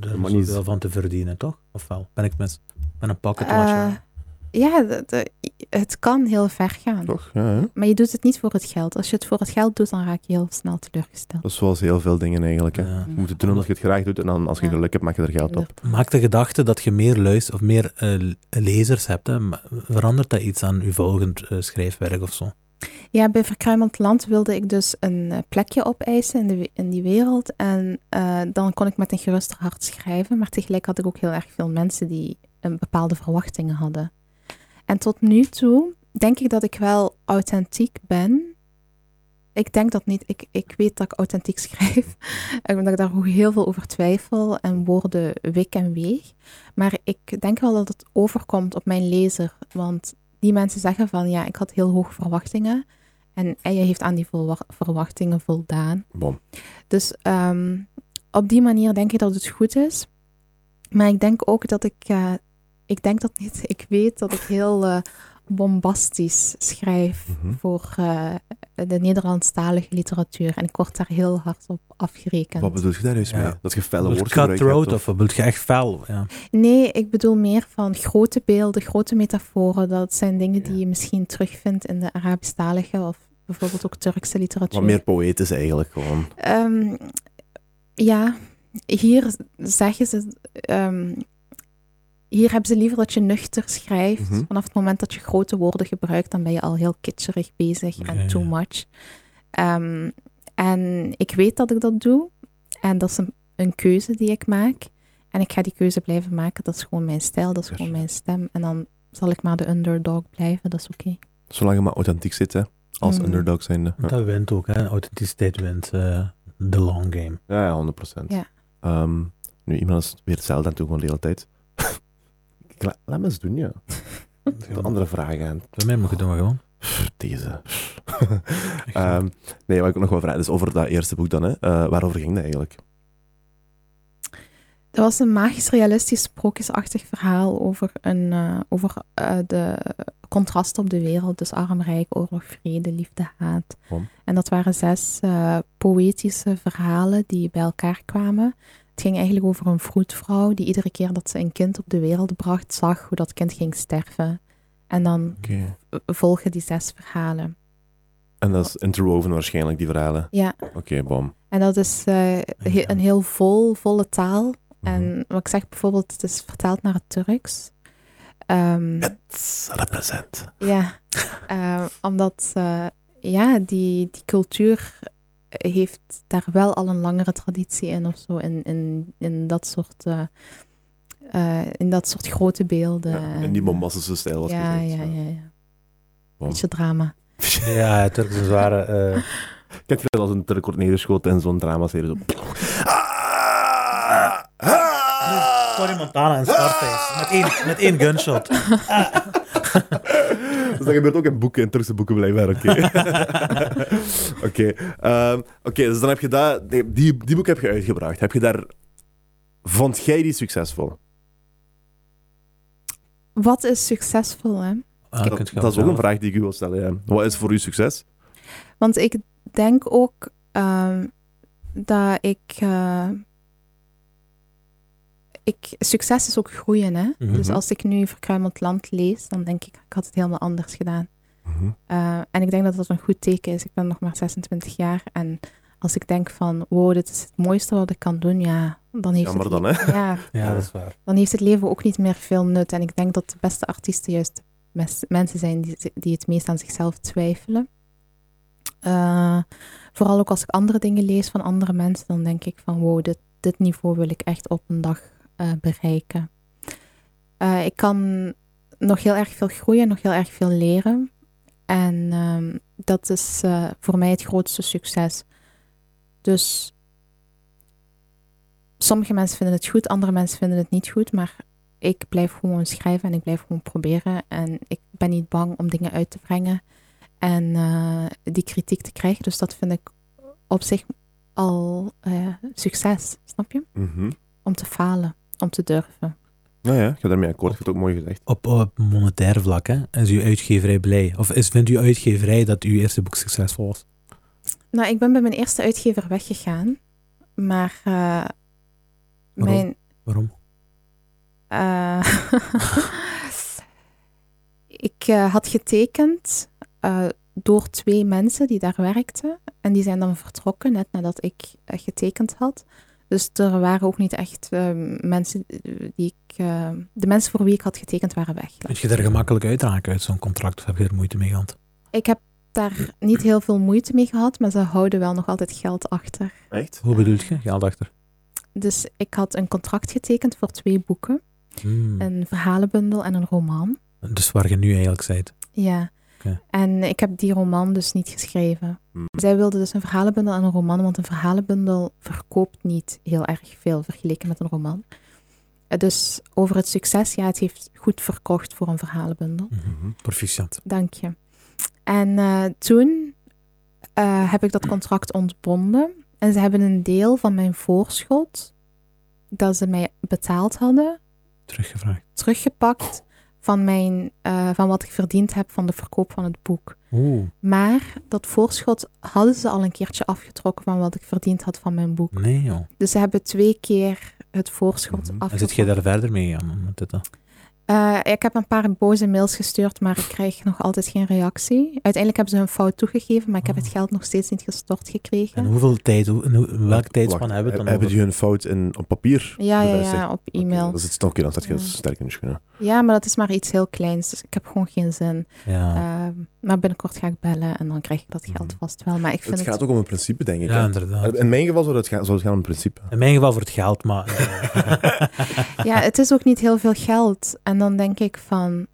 er Maar niet- zoveel van te verdienen, toch? Of wel? Ben ik mis? Ben een pocket watcher? Eh, ja, de- de- het kan heel ver gaan. Toch? Ja, hè? Maar je doet het niet voor het geld. Als je het voor het geld doet, dan raak je heel snel teleurgesteld. Dat is zoals heel veel dingen eigenlijk. Hè. Ja. Je moet het doen omdat je het graag doet en dan als je Ja. geluk hebt, maak je er geld op. Maakt de gedachte dat je meer luist of meer eh, lezers hebt, hè, ma- verandert dat iets aan je volgend eh, schrijfwerk of zo? Ja, bij Verkruimeld Land wilde ik dus een eh, plekje opeisen in, de, we- in die wereld. En eh, dan kon ik met een geruster hart schrijven. Maar tegelijk had ik ook heel erg veel mensen die een bepaalde verwachtingen hadden. En tot nu toe denk ik dat ik wel authentiek ben. Ik denk dat niet. Ik, ik weet dat ik authentiek schrijf. En Omdat ik daar ook heel veel over twijfel en woorden wik en weeg. Maar ik denk wel dat het overkomt op mijn lezer. Want die mensen zeggen van ja, ik had heel hoge verwachtingen. En en je heeft aan die volwa- verwachtingen voldaan. Bom. Dus ehm, op die manier denk ik dat het goed is. Maar ik denk ook dat ik... eh, ik denk dat niet. Ik weet dat ik heel eh, bombastisch schrijf Mhm. voor eh, de Nederlandstalige literatuur. En ik word daar heel hard op afgerekend. Wat bedoel je daar eens mee? Ja. Dat je felle Wil je woordgebruik hebt, cutthroat of- of wil je echt fel? Ja. Nee, ik bedoel meer van grote beelden, grote metaforen. Dat zijn dingen die je misschien terugvindt in de Arabisch-talige of bijvoorbeeld ook Turkse literatuur. Wat meer poëtisch eigenlijk gewoon. Ehm, ja, hier zeggen ze. ehm, hier hebben ze liever dat je nuchter schrijft. Mhm. Vanaf het moment dat je grote woorden gebruikt, dan ben je al heel kitscherig bezig en Ja, ja. too much. Ehm, en ik weet dat ik dat doe. En dat is een, een keuze die ik maak. En ik ga die keuze blijven maken. Dat is gewoon mijn stijl, dat is gewoon mijn stem. En dan zal ik maar de underdog blijven, dat is oké. Zolang je maar authentiek zit, hè. Als Mhm. underdog zijnde. Ja, Dat wint ook, hè. authenticiteit wint eh, de long game. ja, ja, 100 procent. Ja. Ehm, nu, iemand is weer hetzelfde aan het doen gewoon de hele tijd. Ik la- Laat me eens doen, ja. De andere vragen aan. Voor mij moet je doen maar gewoon. Deze. Echt, Ehm, nee, wat ik ook nog wel vragen is over dat eerste boek dan, hè. Eh, waarover ging dat eigenlijk? Dat was een magisch-realistisch sprookjesachtig verhaal over, een, eh, over eh, de contrasten op de wereld. Dus arm, rijk, oorlog, vrede, liefde, haat. Waarom? En dat waren zes eh, poëtische verhalen die bij elkaar kwamen. Het ging eigenlijk over een vroedvrouw die iedere keer dat ze een kind op de wereld bracht, zag hoe dat kind ging sterven. En dan Oké. eh, volgen die zes verhalen. En dat is interwoven waarschijnlijk, die verhalen. Ja, Oké, bom. en dat is eh, he- een heel vol, volle taal. Mhm. En wat ik zeg bijvoorbeeld, het is vertaald naar het Turks. Ehm, It's represent. ja, eh, omdat eh, ja, die, die cultuur heeft daar wel al een langere traditie in of zo, in, in, in, dat, soort, eh, eh, in dat soort grote beelden. Ja, en die bombastische stijl was Ja, gezegd, ja, ja. ja. ja. Bom. Beetje drama. Ja, het is een zware... eh, Ik heb als een Turk wordt neergeschoten en zo'n dramaserie zo... Ah! Ah! Cory Montana en Scarface. Met één, met één gunshot. Ah, Dus dat gebeurt ook in boeken, in Turkse boeken blijkbaar, oké. oké, ehm, oké, dus dan heb je dat, die, die boek heb je uitgebracht. Heb je daar... Vond jij die succesvol? Wat is succesvol, hè? Ah, dat, kunt je dat is ook een wel. vraag die ik u wil stellen, ja. Wat is voor u succes? Want ik denk ook ehm, dat ik, eh, ik. Succes is ook groeien, hè? Mhm. Dus als ik nu Verkruimeld Land lees, dan denk ik, ik had het helemaal anders gedaan. Mhm. Eh, en ik denk dat dat een goed teken is. Ik ben nog maar 26 jaar en als ik denk van, wow, dit is het mooiste wat ik kan doen, ja, dan heeft, Jammer het, dan, hè? Ja, Ja, dat is waar. dan heeft het leven ook niet meer veel nut. En ik denk dat de beste artiesten juist de mes- mensen zijn die, die het meest aan zichzelf twijfelen. Eh, vooral ook als ik andere dingen lees van andere mensen, dan denk ik van wow, dit, dit niveau wil ik echt op een dag eh, bereiken. Eh, ik kan nog heel erg veel groeien, nog heel erg veel leren. En ehm, dat is eh, voor mij het grootste succes. Dus sommige mensen vinden het goed, andere mensen vinden het niet goed, maar ik blijf gewoon schrijven en ik blijf gewoon proberen en ik ben niet bang om dingen uit te brengen en eh, die kritiek te krijgen. Dus dat vind ik op zich al eh, succes, snap je? Mhm. Om te falen, om te durven. Nou ja, ik heb daarmee akkoord. Ik vind het ook mooi gezegd. Op, op monetair vlak, hè, is uw uitgeverij blij? Of is, vindt uw uitgeverij dat uw eerste boek succesvol was? Nou, ik ben bij mijn eerste uitgever weggegaan, maar eh, Waarom? mijn, Waarom? Eh, ik Ik eh, had getekend eh, door twee mensen die daar werkten. En die zijn dan vertrokken net nadat ik eh, getekend had. Dus er waren ook niet echt eh, mensen die ik. eh, de mensen voor wie ik had getekend waren weg. Kun je er gemakkelijk uitraken uit zo'n contract? Of heb je er moeite mee gehad? Ik heb daar niet heel veel moeite mee gehad, maar ze houden wel nog altijd geld achter. Echt? Hoe bedoelt je? Geld achter. Dus ik had een contract getekend voor twee boeken: Hmm. een verhalenbundel en een roman. Dus waar je nu eigenlijk bent. Ja. Oké. En ik heb die roman dus niet geschreven. Hmm. Zij wilde dus een verhalenbundel en een roman, want een verhalenbundel verkoopt niet heel erg veel vergeleken met een roman. Eh, Dus over het succes, ja, het heeft goed verkocht voor een verhalenbundel. Mhm. Proficiat. Dank je. En eh, toen eh, heb ik dat contract ontbonden. En ze hebben een deel van mijn voorschot, dat ze mij betaald hadden, Teruggevraagd. teruggepakt van, mijn, eh, van wat ik verdiend heb van de verkoop van het boek. Oeh, Maar dat voorschot hadden ze al een keertje afgetrokken van wat ik verdiend had van mijn boek. nee joh. Dus ze hebben twee keer het Mhm. voorschot En zit En afgetrokken. zit jij daar verder mee aan? Met dit, dan? Eh, ik heb een paar boze mails gestuurd, maar ik krijg nog altijd geen reactie. Uiteindelijk hebben ze hun fout toegegeven, maar ik heb Oh. het Ah. geld nog steeds niet gestort gekregen. En hoeveel tijd, hoe- in hoe- in welke tijdspan Wacht, hebben we het dan Hebben over? die hun fout in, op papier? Ja, ja, bewijzen? ja, op Oké, e-mail. dat is het stokje, dan staat je Ja. sterk in de schoenen. Ja, maar dat is maar iets heel kleins, dus ik heb gewoon geen zin. Ja. Ehm, maar binnenkort ga ik bellen en dan krijg ik dat geld Ah. Mhm. vast wel. Maar ik vind Het het, gaat ook om een principe, denk ik. ja, hè? inderdaad. In mijn geval zou het gaan, zou het gaan om een principe. In mijn geval voor het geld, maar... eh, ja, het is ook niet heel veel geld. En dan denk ik van,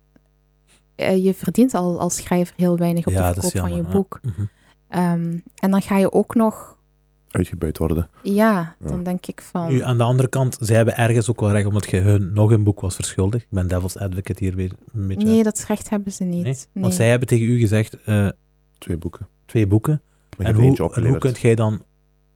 eh, je verdient al als schrijver heel weinig op Ja, de dat is verkoop van je jammer, ja. boek. Mhm. Ehm, en dan ga je ook nog, Uitgebuit worden. ja, dan Ja. denk ik van... Nu, aan de andere kant, zij hebben ergens ook wel recht, omdat je hun nog een boek was verschuldigd. Ik ben devil's advocate hier weer een beetje. Nee, dat recht hebben ze niet. Nee? Nee. Want zij hebben tegen u gezegd, eh, Twee boeken. twee boeken. Maar je en hebt hoe, eentje en hoe opgeleverd. kunt jij dan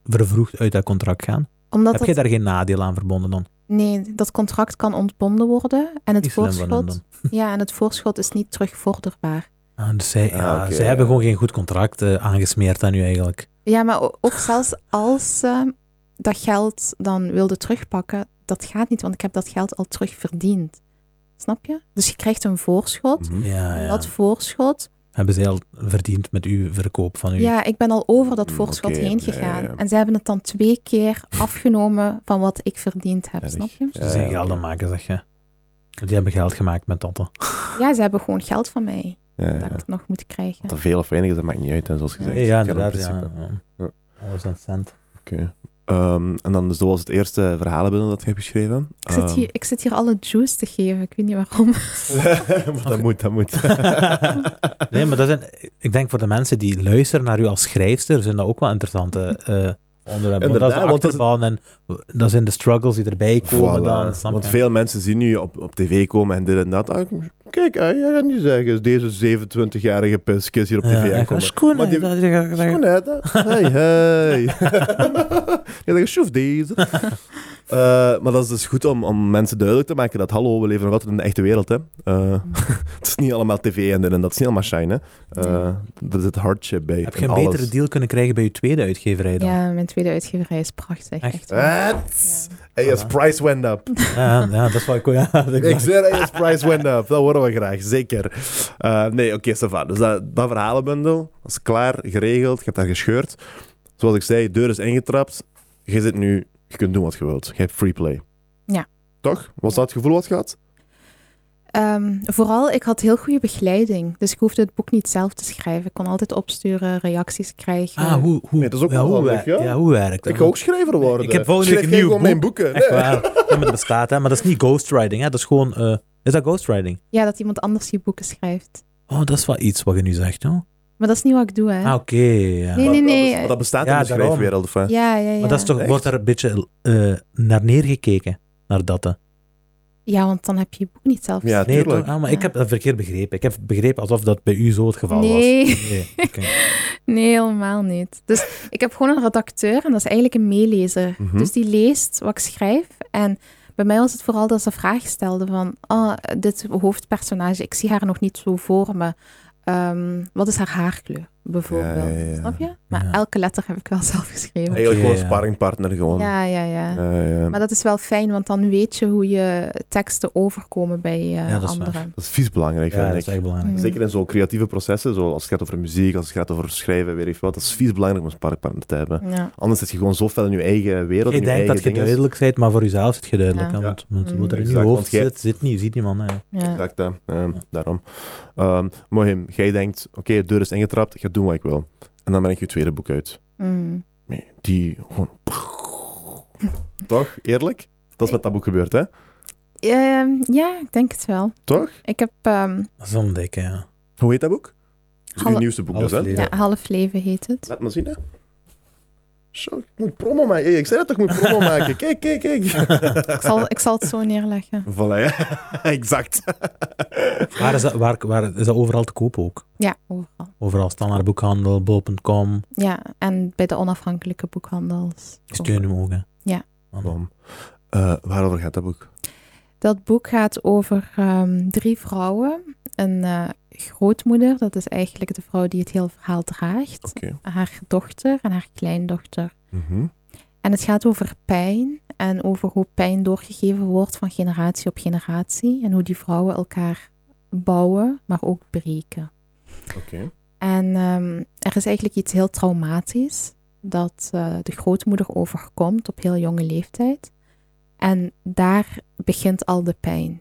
vervroegd uit dat contract gaan? Omdat Heb dat, jij daar geen nadeel aan verbonden dan? Nee, dat contract kan ontbonden worden en het, Niet slim van hen voorschot, dan. ja, en het voorschot is niet terugvorderbaar. Ah, dus zij, Ah, ja, oké, zij ja. hebben gewoon geen goed contract eh, aangesmeerd aan u eigenlijk. Ja, maar o- ook zelfs als ze dat geld dan wilde terugpakken, dat gaat niet, want ik heb dat geld al terugverdiend. Snap je? Dus je krijgt een voorschot. Mhm. Ja, en ja. Dat voorschot, Hebben zij al verdiend met uw verkoop van u? ja, ik ben al over dat Mm, voorschot oké, heen ja, ja, gegaan. ja. En ze hebben het dan twee keer afgenomen van wat ik verdiend heb, Erg. snap je? Dus Ze zijn Ja, ja, geld aan oké. maken, zeg je. Die hebben geld gemaakt met dat dan. Ja, ze hebben gewoon geld van mij Ja, dat ik ja. het nog moet krijgen. Wat er veel of weinig is, dat maakt niet uit, hè, zoals gezegd. Ja, Het gaat om inderdaad. principe. Ja. Ja. Alles aan cent. Oké. Ehm, en dan, dus dat was het eerste verhalenbundel dat je hebt geschreven. Ehm. Ik zit, eh, hier, ik zit hier alle juice te geven, ik weet niet waarom. maar dat moet, dat moet. nee, maar dat zijn, ik denk voor de mensen die luisteren naar u als schrijfster, zijn dat ook wel interessante eh onderwerpen. Want dat is de Inderdaad, want dat is- achterban en dat zijn de struggles die erbij komen Voilà. dan. Snap Want je? veel mensen zien nu op, op tv komen en dit en dat. Ah, kijk, ah, jij gaat niet zeggen, deze 27-jarige piskis hier op Ja, tv echt waar. aankomen. Schoenen, Maar die- dat- dat- dat- Schoon hè? dat- Hey, hey. ja, dat is schoef deze. Eh, maar dat is dus goed om, om mensen duidelijk te maken dat, hallo, we leven nog altijd in de echte wereld, hè. Eh, het is niet allemaal tv en dit en dat, het is niet allemaal shine, hè. Eh, er zit hardship bij. Heb in je een alles. betere deal kunnen krijgen bij je tweede uitgeverij dan? Ja, mijn tweede uitgeverij is prachtig. Echt? Echt? Wat? Hey, yes, Voilà. price went up. Ja, ja, dat is wat ik ja, dat ik Ik dacht. zeg, hey, yes, price went up. Dat horen we graag, zeker. Eh, nee, oké, Stefan. Dus dat, dat verhalenbundel is klaar, geregeld. Je hebt dat gescheurd. Zoals ik zei, deur is ingetrapt. Je zit nu, je kunt doen wat je wilt. Je hebt free play. Ja. Toch? Was dat het gevoel wat je had? Ehm, vooral, ik had heel goede begeleiding. Dus ik hoefde het boek niet zelf te schrijven. Ik kon altijd opsturen, reacties krijgen. Ah, hoe, hoe, Nee, dat is ook ja, wel hoe, handig, wer- ja. ja, hoe werkt dat? Ik ga ook schrijver worden. Ik heb volgende Schrijf week jij een nieuw gewoon mijn boeken. Echt Nee. waar. Ja, maar dat bestaat, hè. Maar dat is niet ghostwriting, hè. Dat is gewoon... eh, is dat ghostwriting? Ja, dat iemand anders je boeken schrijft. Oh, dat is wel iets wat je nu zegt, hoor. Maar dat is niet wat ik doe, hè? Ah, oké, ja. Maar Nee, nee, dat- nee. Maar dat bestaat Ja, in de daarom. schrijfwereld. Of, wat? Ja, ja, ja. Maar dat is toch, Echt? wordt daar een beetje eh, naar neergekeken, naar dat, hè. Ja, want dan heb je je boek niet zelf Ja, Nee, tuurlijk. toch? Ah, maar Ja. ik heb dat verkeerd begrepen. Ik heb begrepen alsof dat bij u zo het geval Nee. was. Nee. oké. Nee, helemaal niet. Dus ik heb gewoon een redacteur en dat is eigenlijk een meelezer. Mhm. Dus die leest wat ik schrijf. En bij mij was het vooral dat ze vragen stelde van... Oh, dit hoofdpersonage, ik zie haar nog niet zo voor me. Ehm, wat is haar haarkleur? bijvoorbeeld. Ja, ja, ja. Snap je? Maar Ja. elke letter heb ik wel zelf geschreven. Eigenlijk gewoon ja. een sparringpartner gewoon. Ja, ja, ja. Ja, ja. Maar dat is wel fijn, want dan weet je hoe je teksten overkomen bij eh, Ja, dat is waar. anderen. Dat is vies belangrijk, Ja, dat vind is ik. echt belangrijk. Mm. Zeker in zo'n creatieve processen, zoals als het gaat over muziek, als het gaat over schrijven, weet ik veel wat. Dat is vies belangrijk om een sparringpartner te hebben. Ja. Anders zit je gewoon zo fel in je eigen wereld. Ik in je denk eigen dat je dinges. duidelijk bent, maar voor jezelf zit je duidelijk. Ja. hè, Want, want Mm. wat er in je Exact, hoofd want jij- zit, zit niet, ziet niemand. hè. Ja. Exact, hè. Ja, daarom. Ehm Mohim, jij denkt, oké, de deur is ingetrapt, ik ga doen wat ik wil. En dan breng je je tweede boek uit. Mm. Nee, die gewoon... Toch? Eerlijk? Dat is met dat boek gebeurd, hè? Ehm, ja, ik denk het wel. Toch? Ik heb ehm, Dat is ontdekken, ja. Hoe heet dat boek? Dat is uw Alle- nieuwste boek Alles dus, hè? leren. ja, half leven heet het. Laat maar zien, hè. Zo, ik moet promo maken. Hey, Ik zei dat toch, ik moet promo maken. Kijk, kijk, kijk. Ik zal, ik zal het zo neerleggen. voilà, ja. Exact. Waar is, dat, waar, waar is dat overal te koop ook? Ja, overal. Overal standaardboekhandel, Oh. bol.com. Ja, en bij de onafhankelijke boekhandels. ook. Steun hem ook, hè. Ja. Want- Bom. Eh, waarover gaat dat boek? Dat boek gaat over ehm, drie vrouwen. Een eh, grootmoeder, dat is eigenlijk de vrouw die het hele verhaal draagt. Oké. Haar dochter en haar kleindochter. Mhm. En het gaat over pijn en over hoe pijn doorgegeven wordt van generatie op generatie. En hoe die vrouwen elkaar bouwen, maar ook breken. Oké. En ehm, er is eigenlijk iets heel traumatisch dat eh, de grootmoeder overkomt op heel jonge leeftijd. En daar begint al de pijn.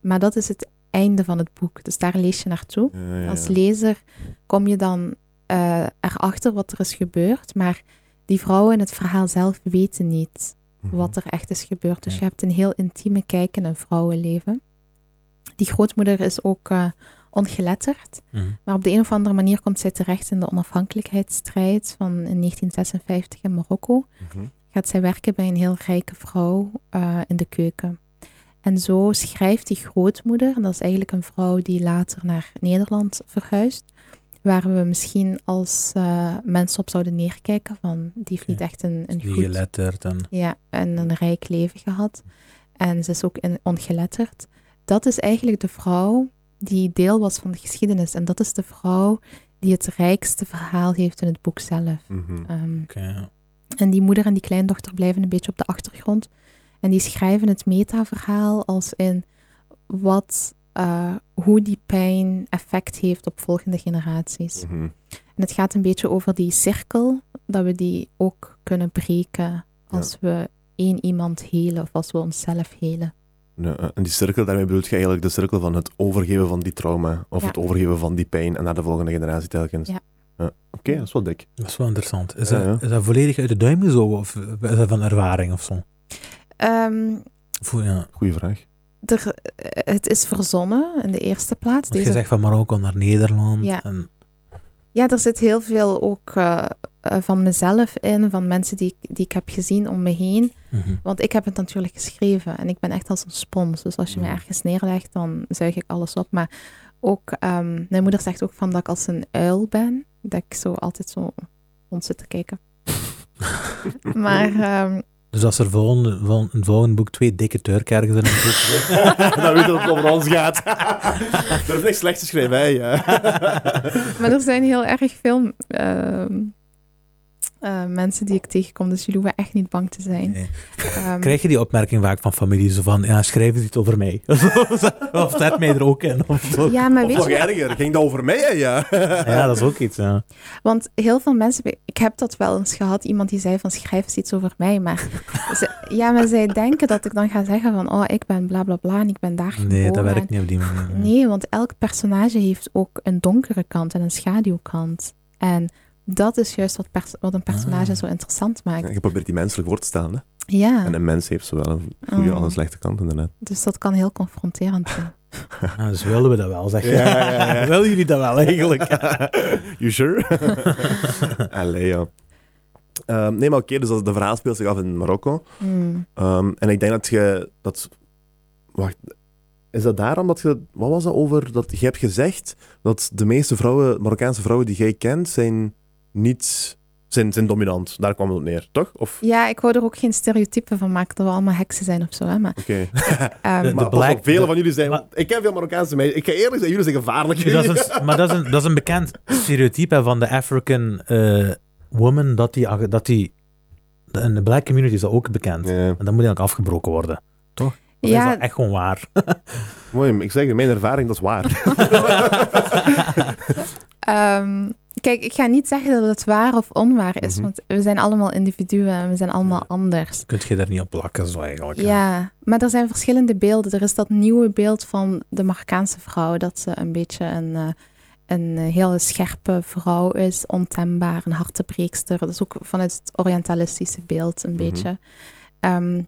Maar dat is het einde van het boek. Dus daar lees je naartoe. Ja, ja, ja. Als lezer kom je dan eh, erachter wat er is gebeurd. Maar die vrouwen in het verhaal zelf weten niet Mhm. wat er echt is gebeurd. Dus Ja. je hebt een heel intieme kijk in een vrouwenleven. Die grootmoeder is ook eh, ongeletterd. Hm. Mhm. Maar op de een of andere manier komt zij terecht in de onafhankelijkheidsstrijd van in 1956 in Marokko. Mhm. Gaat zij werken bij een heel rijke vrouw eh, in de keuken. En zo schrijft die grootmoeder, en dat is eigenlijk een vrouw die later naar Nederland verhuist, waar we misschien als eh, mensen op zouden neerkijken van die heeft niet Oké. echt een, een Die goed geletterd en... ja, en een rijk leven gehad. En ze is ook in, ongeletterd. Dat is eigenlijk de vrouw die deel was van de geschiedenis. En dat is de vrouw die het rijkste verhaal heeft in het boek zelf. Mhm. Ehm, Oké, ja. en die moeder en die kleindochter blijven een beetje op de achtergrond. En die schrijven het metaverhaal als in wat, eh, hoe die pijn effect heeft op volgende generaties. Mhm. En het gaat een beetje over die cirkel, dat we die ook kunnen breken als we één iemand helen of als we onszelf helen. Ja, eh, en die cirkel, daarmee bedoel je eigenlijk de cirkel van het overgeven van die trauma. Of Ja. het overgeven van die pijn en naar de volgende generatie telkens. Eh, Ja. Oké, dat is wel dik. Dat is wel interessant. Is, Ja, dat, ja. is dat volledig uit de duim gezogen of is dat van ervaring of zo? Ehm, Of, hoe- ja. Goeie vraag. er, eh, het is verzonnen in de eerste plaats. Want je Deze, zegt van Marokko naar Nederland. Ja. En, ja, er zit heel veel ook eh, eh, van mezelf in, van mensen die, ik- die ik heb gezien om me heen. Mhm. Want ik heb het natuurlijk geschreven en ik ben echt als een spons. Dus als je mij Mhm. ergens neerlegt, dan zuig ik alles op. Maar ook, ehm, mijn moeder zegt ook van dat ik als een uil ben. Dat ik zo altijd zo rond zit te kijken. maar ehm, Dus als er volgende, vol, in het volgende boek twee dikke Turken ergens in een boek dan weet je dat het over ons gaat. Durf niks slecht te schrijven, hè? Ja. Maar er zijn heel erg veel ehm, eh, mensen die ik tegenkom, dus jullie hoeven echt niet bang te zijn. Nee. Ehm, Krijg je die opmerking vaak van familie, zo van, ja, schrijf eens iets over mij. of zet mij er ook in. Of zo. ja, maar Of weet nog je, erger, ging dat over mij, hè? Ja. Ja, dat is ook iets, ja. want heel veel mensen, ik heb dat wel eens gehad, iemand die zei van schrijf eens iets over mij, maar ze- ja, maar zij denken dat ik dan ga zeggen van oh, ik ben bla bla bla en ik ben daar Nee, dat geboren werkt niet op die manier. Nee, want elk personage heeft ook een donkere kant en een schaduwkant. En dat is juist wat, pers- wat een personage Ah. zo interessant maakt. Je probeert die menselijk woord te stellen. Hè? Ja, En een mens heeft zowel een goede Mm. als een slechte kant, inderdaad. dus dat kan heel confronterend zijn. Ah, dus wilden we dat wel, zeg je. Ja, ja, ja. Willen jullie dat wel eigenlijk? you sure? Allee, ja. Ehm, nee, maar oké, dus dat- de verhaal speelt zich af in Marokko. Mm. Ehm, en ik denk dat je dat. Wacht, is dat daarom dat je. Wat was dat over? Dat je hebt gezegd dat de meeste vrouwen, Marokkaanse vrouwen die jij kent, zijn niet zijn, zijn dominant. Daar kwam het op neer, toch? Of, Ja, ik wou er ook geen stereotype van maken dat we allemaal heksen zijn of zo. Hè? Maar, oké. ehm, De- de- Maar pas black- op, velen de- van jullie zijn... maar- ik ken veel Marokkaanse meisjes. Ik ga eerlijk zijn, jullie zijn gevaarlijk. Dus Dat is een, maar dat is een, dat is een bekend stereotype hè, van de African eh, woman, dat die, dat die... In de black community is dat ook bekend. Ja. En dat moet eigenlijk afgebroken worden. Dat is dat ja, echt gewoon waar. Mooi, maar ik zeg, mijn ervaring, dat is waar. ehm, kijk, ik ga niet zeggen dat het waar of onwaar is, Mhm. want we zijn allemaal individuen en we zijn allemaal anders. Kun je daar niet op plakken, zo eigenlijk. hè. Ja, maar er zijn verschillende beelden. Er is dat nieuwe beeld van de Marokkaanse vrouw, dat ze een beetje een, eh, een eh, hele scherpe vrouw is, ontembaar, een hartebreekster. Dat is ook vanuit het Orientalistische beeld een Mhm. beetje. Ehm,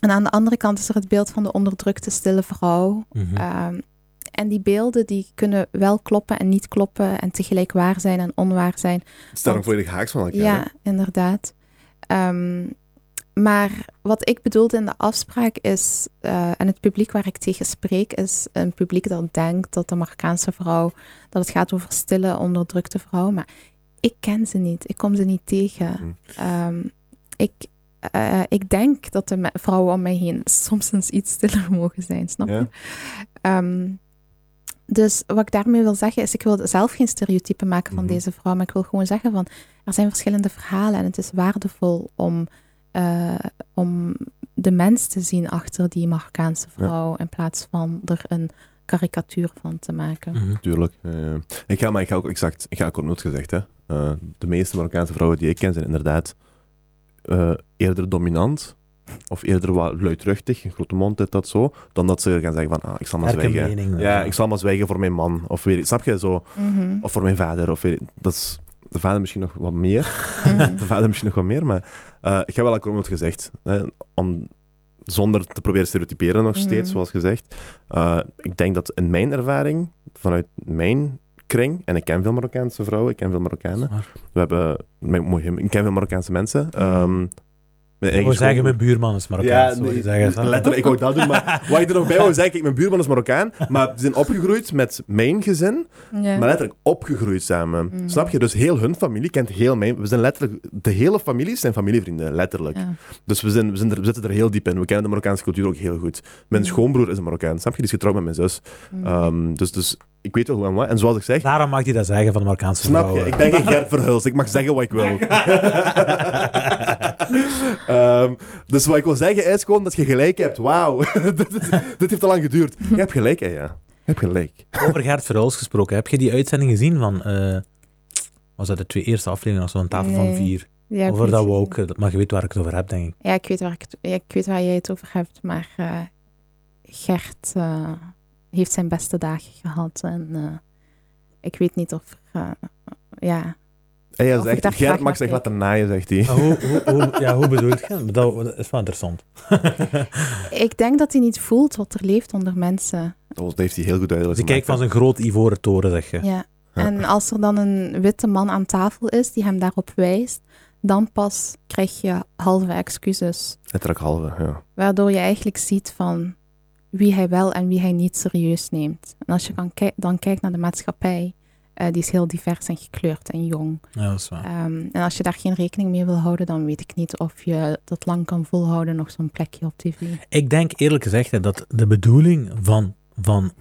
en aan de andere kant is er het beeld van de onderdrukte stille vrouw. Mhm. Ehm, en die beelden die kunnen wel kloppen en niet kloppen en tegelijk waar zijn en onwaar zijn. Het staat ook volledig haaks van elkaar. Ja, hè? inderdaad. Ehm, maar wat ik bedoelde in de afspraak is, eh, en het publiek waar ik tegen spreek, is een publiek dat denkt dat de Marokkaanse vrouw, dat het gaat over stille, onderdrukte vrouw. Maar ik ken ze niet, ik kom ze niet tegen. Hmm. Ehm, ik, eh, ik denk dat de me- vrouwen om mij heen soms eens iets stiller mogen zijn, snap je? Ja. Ehm, dus wat ik daarmee wil zeggen is, ik wil zelf geen stereotypen maken van Mhm. deze vrouw, maar ik wil gewoon zeggen van, er zijn verschillende verhalen en het is waardevol om, eh, om de mens te zien achter die Marokkaanse vrouw in plaats van er een karikatuur van te maken. Mhm. Tuurlijk. eh, ik ga, maar ik ga ook exact, ik ga ook nooit gezegd, hè. Eh, de meeste Marokkaanse vrouwen die ik ken zijn inderdaad eh, eerder dominant, of eerder wat luidruchtig, een grote mond, dit, dat, zo, dan dat ze gaan zeggen van, ah, ik zal maar Sterke zwijgen. mening. Ja, ik zal maar zwijgen voor mijn man, of weet ik, snap je, zo, Mhm. of voor mijn vader, of weet ik, dat is de vader misschien nog wat meer, Mhm. de vader misschien nog wat meer, maar eh, ik heb wel ook nooit gezegd, hè, om, zonder te proberen stereotyperen nog steeds, Mhm. zoals gezegd. Eh, ik denk dat in mijn ervaring, vanuit mijn kring, en ik ken veel Marokkaanse vrouwen, ik ken veel Marokkanen, we hebben, mijn- mooi, ik ken veel Marokkaanse mensen. Mhm. ehm, mijn eigen Ik wil school- zeggen, mijn buurman is ja, Marokkaans. nee, zeggen. letterlijk, ik wou dat doen, maar wat ik er nog bij wou zeggen, ik, mijn buurman is Marokkaan, maar ze zijn opgegroeid met mijn gezin, Ja. maar letterlijk opgegroeid samen. Mhm. Snap je? Dus heel hun familie kent heel mijn... We zijn letterlijk... De hele families zijn familievrienden, letterlijk. Ja. Dus we, zijn, we, zijn er, we zitten er heel diep in. We kennen de Marokkaanse cultuur ook heel goed. Mijn Mhm. schoonbroer is een Marokkaan, snap je? Die is getrouwd met mijn zus. Mhm. eh, Ehm, dus, dus ik weet wel hoe en wat. En zoals ik zeg, Daarom mag hij dat zeggen van de Marokkaanse snap je? vrouwen. Ik ben geen Gert Verhulst. Ik mag zeggen wat ik wil. Ehm, dus wat ik wil zeggen is gewoon dat je gelijk hebt. Wauw. dit, is- dit heeft al lang geduurd. Je hebt gelijk, hè, ja. Je hebt gelijk. Over Gert Verhulst gesproken, heb je die uitzending gezien van... eh, was dat de twee eerste afleveringen of zo, een tafel van Nee, vier? Ja, ik over weet dat het we niet. ook... eh, Maar je weet waar ik het over heb, denk ik. Ja, ik weet waar, ik, het- ja, ik weet waar jij het over hebt, maar eh, Gert eh, heeft zijn beste dagen gehad en eh, ik weet niet of... eh, ja, En jij Of ik zegt, daar Gert graag mag naar zich kijk. laten naaien, zegt hij. Maar Ah, hoe, hoe, hoe- ja, hoe bedoel je? Dat, dat is wel interessant. ik denk dat hij niet voelt wat er leeft onder mensen. Oh, dat heeft hij heel goed duidelijk Ze kijkt Dus van gemaakt, zijn groot ivoren toren, zeg je. Ja. En als er dan een witte man aan tafel is die hem daarop wijst, dan pas krijg je halve excuses. hè. Letterlijk halve, ja. Waardoor je eigenlijk ziet van wie hij wel en wie hij niet serieus neemt. En als je dan, kijk- dan kijkt naar de maatschappij, eh, die is heel divers en gekleurd en jong. Ja, dat is waar. Ehm, en als je daar geen rekening mee wil houden, dan weet ik niet of je dat lang kan volhouden, nog zo'n plekje op tv. Ik denk eerlijk gezegd hè, dat de bedoeling van, van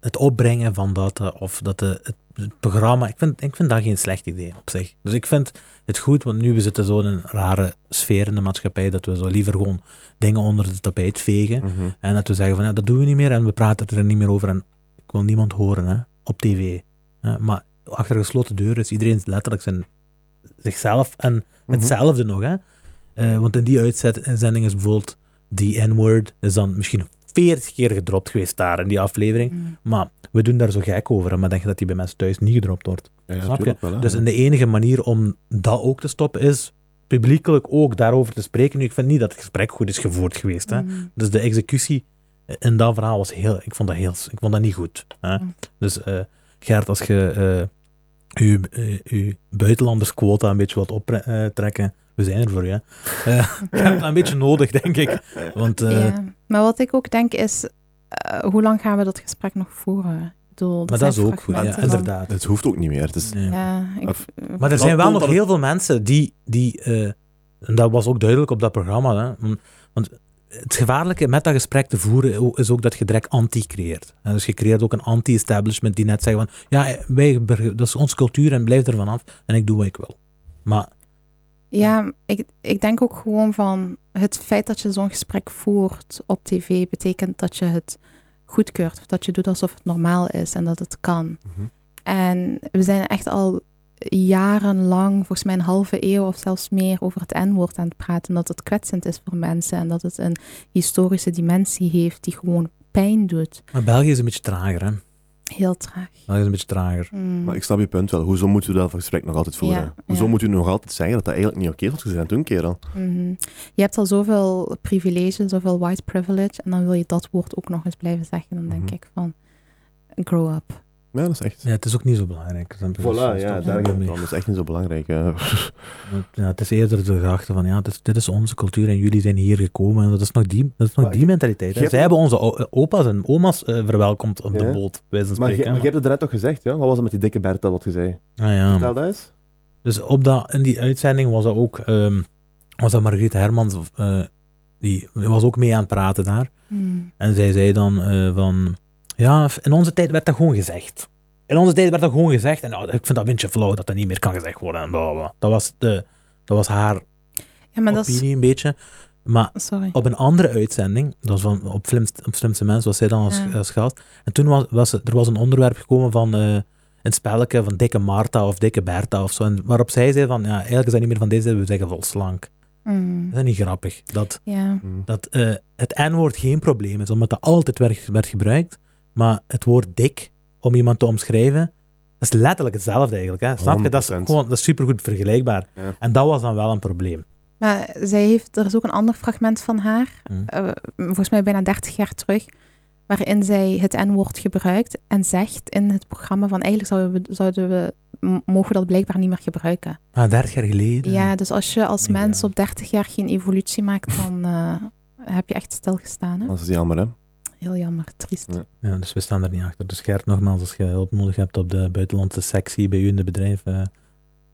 het opbrengen van dat, eh, of dat de, het, het programma, ik vind, ik vind dat geen slecht idee op zich. Dus ik vind het goed, want nu we zitten zo in een rare sfeer in de maatschappij, dat we zo liever gewoon dingen onder de tapijt vegen. Mhm. En dat we zeggen van, ja, dat doen we niet meer en we praten er niet meer over en ik wil niemand horen hè, op tv. hè. maar achter gesloten deuren is iedereen letterlijk zijn, zichzelf en Mhm. hetzelfde nog. Hè? Eh, want in die uitzending is bijvoorbeeld die N-word is dan misschien 40 keer gedropt geweest daar in die aflevering. Mm. Maar we doen daar zo gek over. hè, Maar denk je dat die bij mensen thuis niet gedropt wordt? Ja, Ah, ja, Snap je? tuurlijk wel, hè. Dus en de enige manier om dat ook te stoppen is publiekelijk ook daarover te spreken. Nu, ik vind niet dat het gesprek goed is gevoerd geweest. Hè? Mm. Dus de executie in dat verhaal was heel... Ik vond dat, heel, ik vond dat niet goed. Hè? Mm. Dus eh, Gert, als je eh, je eh, je buitenlandersquota een beetje wilt optrekken, we zijn er voor je. hè. Eh, je hebt dat een beetje nodig, denk ik. Want eh, Ja. Maar wat ik ook denk is, eh, hoe lang gaan we dat gesprek nog voeren? Ik bedoel, Maar dat zijn is ook goed, fragmenten ja, van- inderdaad. Het hoeft ook niet meer. Het is, Nee. Ja, ik- Of- Maar er Dat zijn wel komt nog dat het- heel veel mensen die, die eh, en dat was ook duidelijk op dat programma, hè, om- want het gevaarlijke met dat gesprek te voeren o- is ook dat je direct anti creëert. En dus je creëert ook een anti-establishment die net zegt van, ja, eh, wij, dat is onze cultuur en blijf ervan af en ik doe wat ik wil. Maar ja ik, ik denk ook gewoon van het feit dat je zo'n gesprek voert op tv betekent dat je het goedkeurt. Of dat je doet alsof het normaal is en dat het kan. Mhm. En we zijn echt al jarenlang, volgens mij een halve eeuw of zelfs meer, over het N-woord aan het praten. Dat het kwetsend is voor mensen en dat het een historische dimensie heeft die gewoon pijn doet. Maar België is een beetje trager, hè? Heel traag. België is een beetje trager. Mm. Maar ik snap je punt wel. Hoezo moeten we dat gesprek nog altijd voeren? Ja, Hoezo ja. moeten we nog altijd zeggen dat dat eigenlijk niet oké is wat je zei toen, kerel? Mhm. Je hebt al zoveel privilege, zoveel white privilege, en dan wil je dat woord ook nog eens blijven zeggen. Dan denk Mhm. ik van, grow up. Ja, dat is echt... Ja, het is ook niet zo belangrijk. Dat is- Voilà, ja, dat is- daar gaat het om. Nee. Dat is echt niet zo belangrijk. eh. hè. Ja, het is eerder de gedachte van, ja, dit is, dit is onze cultuur en jullie zijn hier gekomen. En dat is nog die, dat is nog Maar die mentaliteit. je Hè. hebt- Zij hebben onze o- eh, opa's en oma's eh, verwelkomd op Ja. de boot, bij wijze van Maar, je, spreken. maar je hebt het net toch gezegd, ja? Wat was het met die dikke Bertha wat je zei? Ah, ja. Vertel dat eens. Dus op dat, in die uitzending was dat ook, ehm, was dat Margriet Hermans, of, eh, die was ook mee aan het praten daar. Mm. En zij zei dan eh, van... Ja, in onze tijd werd dat gewoon gezegd. In onze tijd werd dat gewoon gezegd. En nou, ik vind dat een beetje flauw dat dat niet meer kan gezegd worden. En bla, bla, bla. Dat, was de, dat was haar Ja, maar dat opinie is... een beetje. Maar Sorry. op een andere uitzending, dat was van, op, Slimst, op Slimste Mens, was zij dan als, Ja. als gast. En toen was, was er er was een onderwerp gekomen van... eh, een spelletje van dikke Marta of dikke Bertha of zo. En waarop zij zei van, ja, eigenlijk is dat niet meer van deze tijd, we zeggen vol slank. Mm. Dat is niet grappig. Dat, Ja. Mm. dat eh, het N-woord geen probleem is, omdat dat altijd werd, werd gebruikt. Maar het woord dik, om iemand te omschrijven, dat is letterlijk hetzelfde eigenlijk. Hè? Snap je? Dat is, 100%. gewoon, dat is supergoed vergelijkbaar. Ja. En dat was dan wel een probleem. Maar zij heeft, er is ook een ander fragment van haar, Mm. eh, volgens mij bijna 30 jaar terug, waarin zij het N-woord gebruikt en zegt in het programma van eigenlijk zouden we, zouden we m- mogen we dat blijkbaar niet meer gebruiken. Ah, 30 jaar geleden. Ja, dus als je als Ja. mens op 30 jaar geen evolutie maakt, dan eh, heb je echt stilgestaan. Hè? Dat is jammer, hè? Heel jammer, triest. Ja. Ja, dus we staan er niet achter. Dus Gert, nogmaals, als je hulp nodig hebt op de buitenlandse sectie bij u in de bedrijf. eh,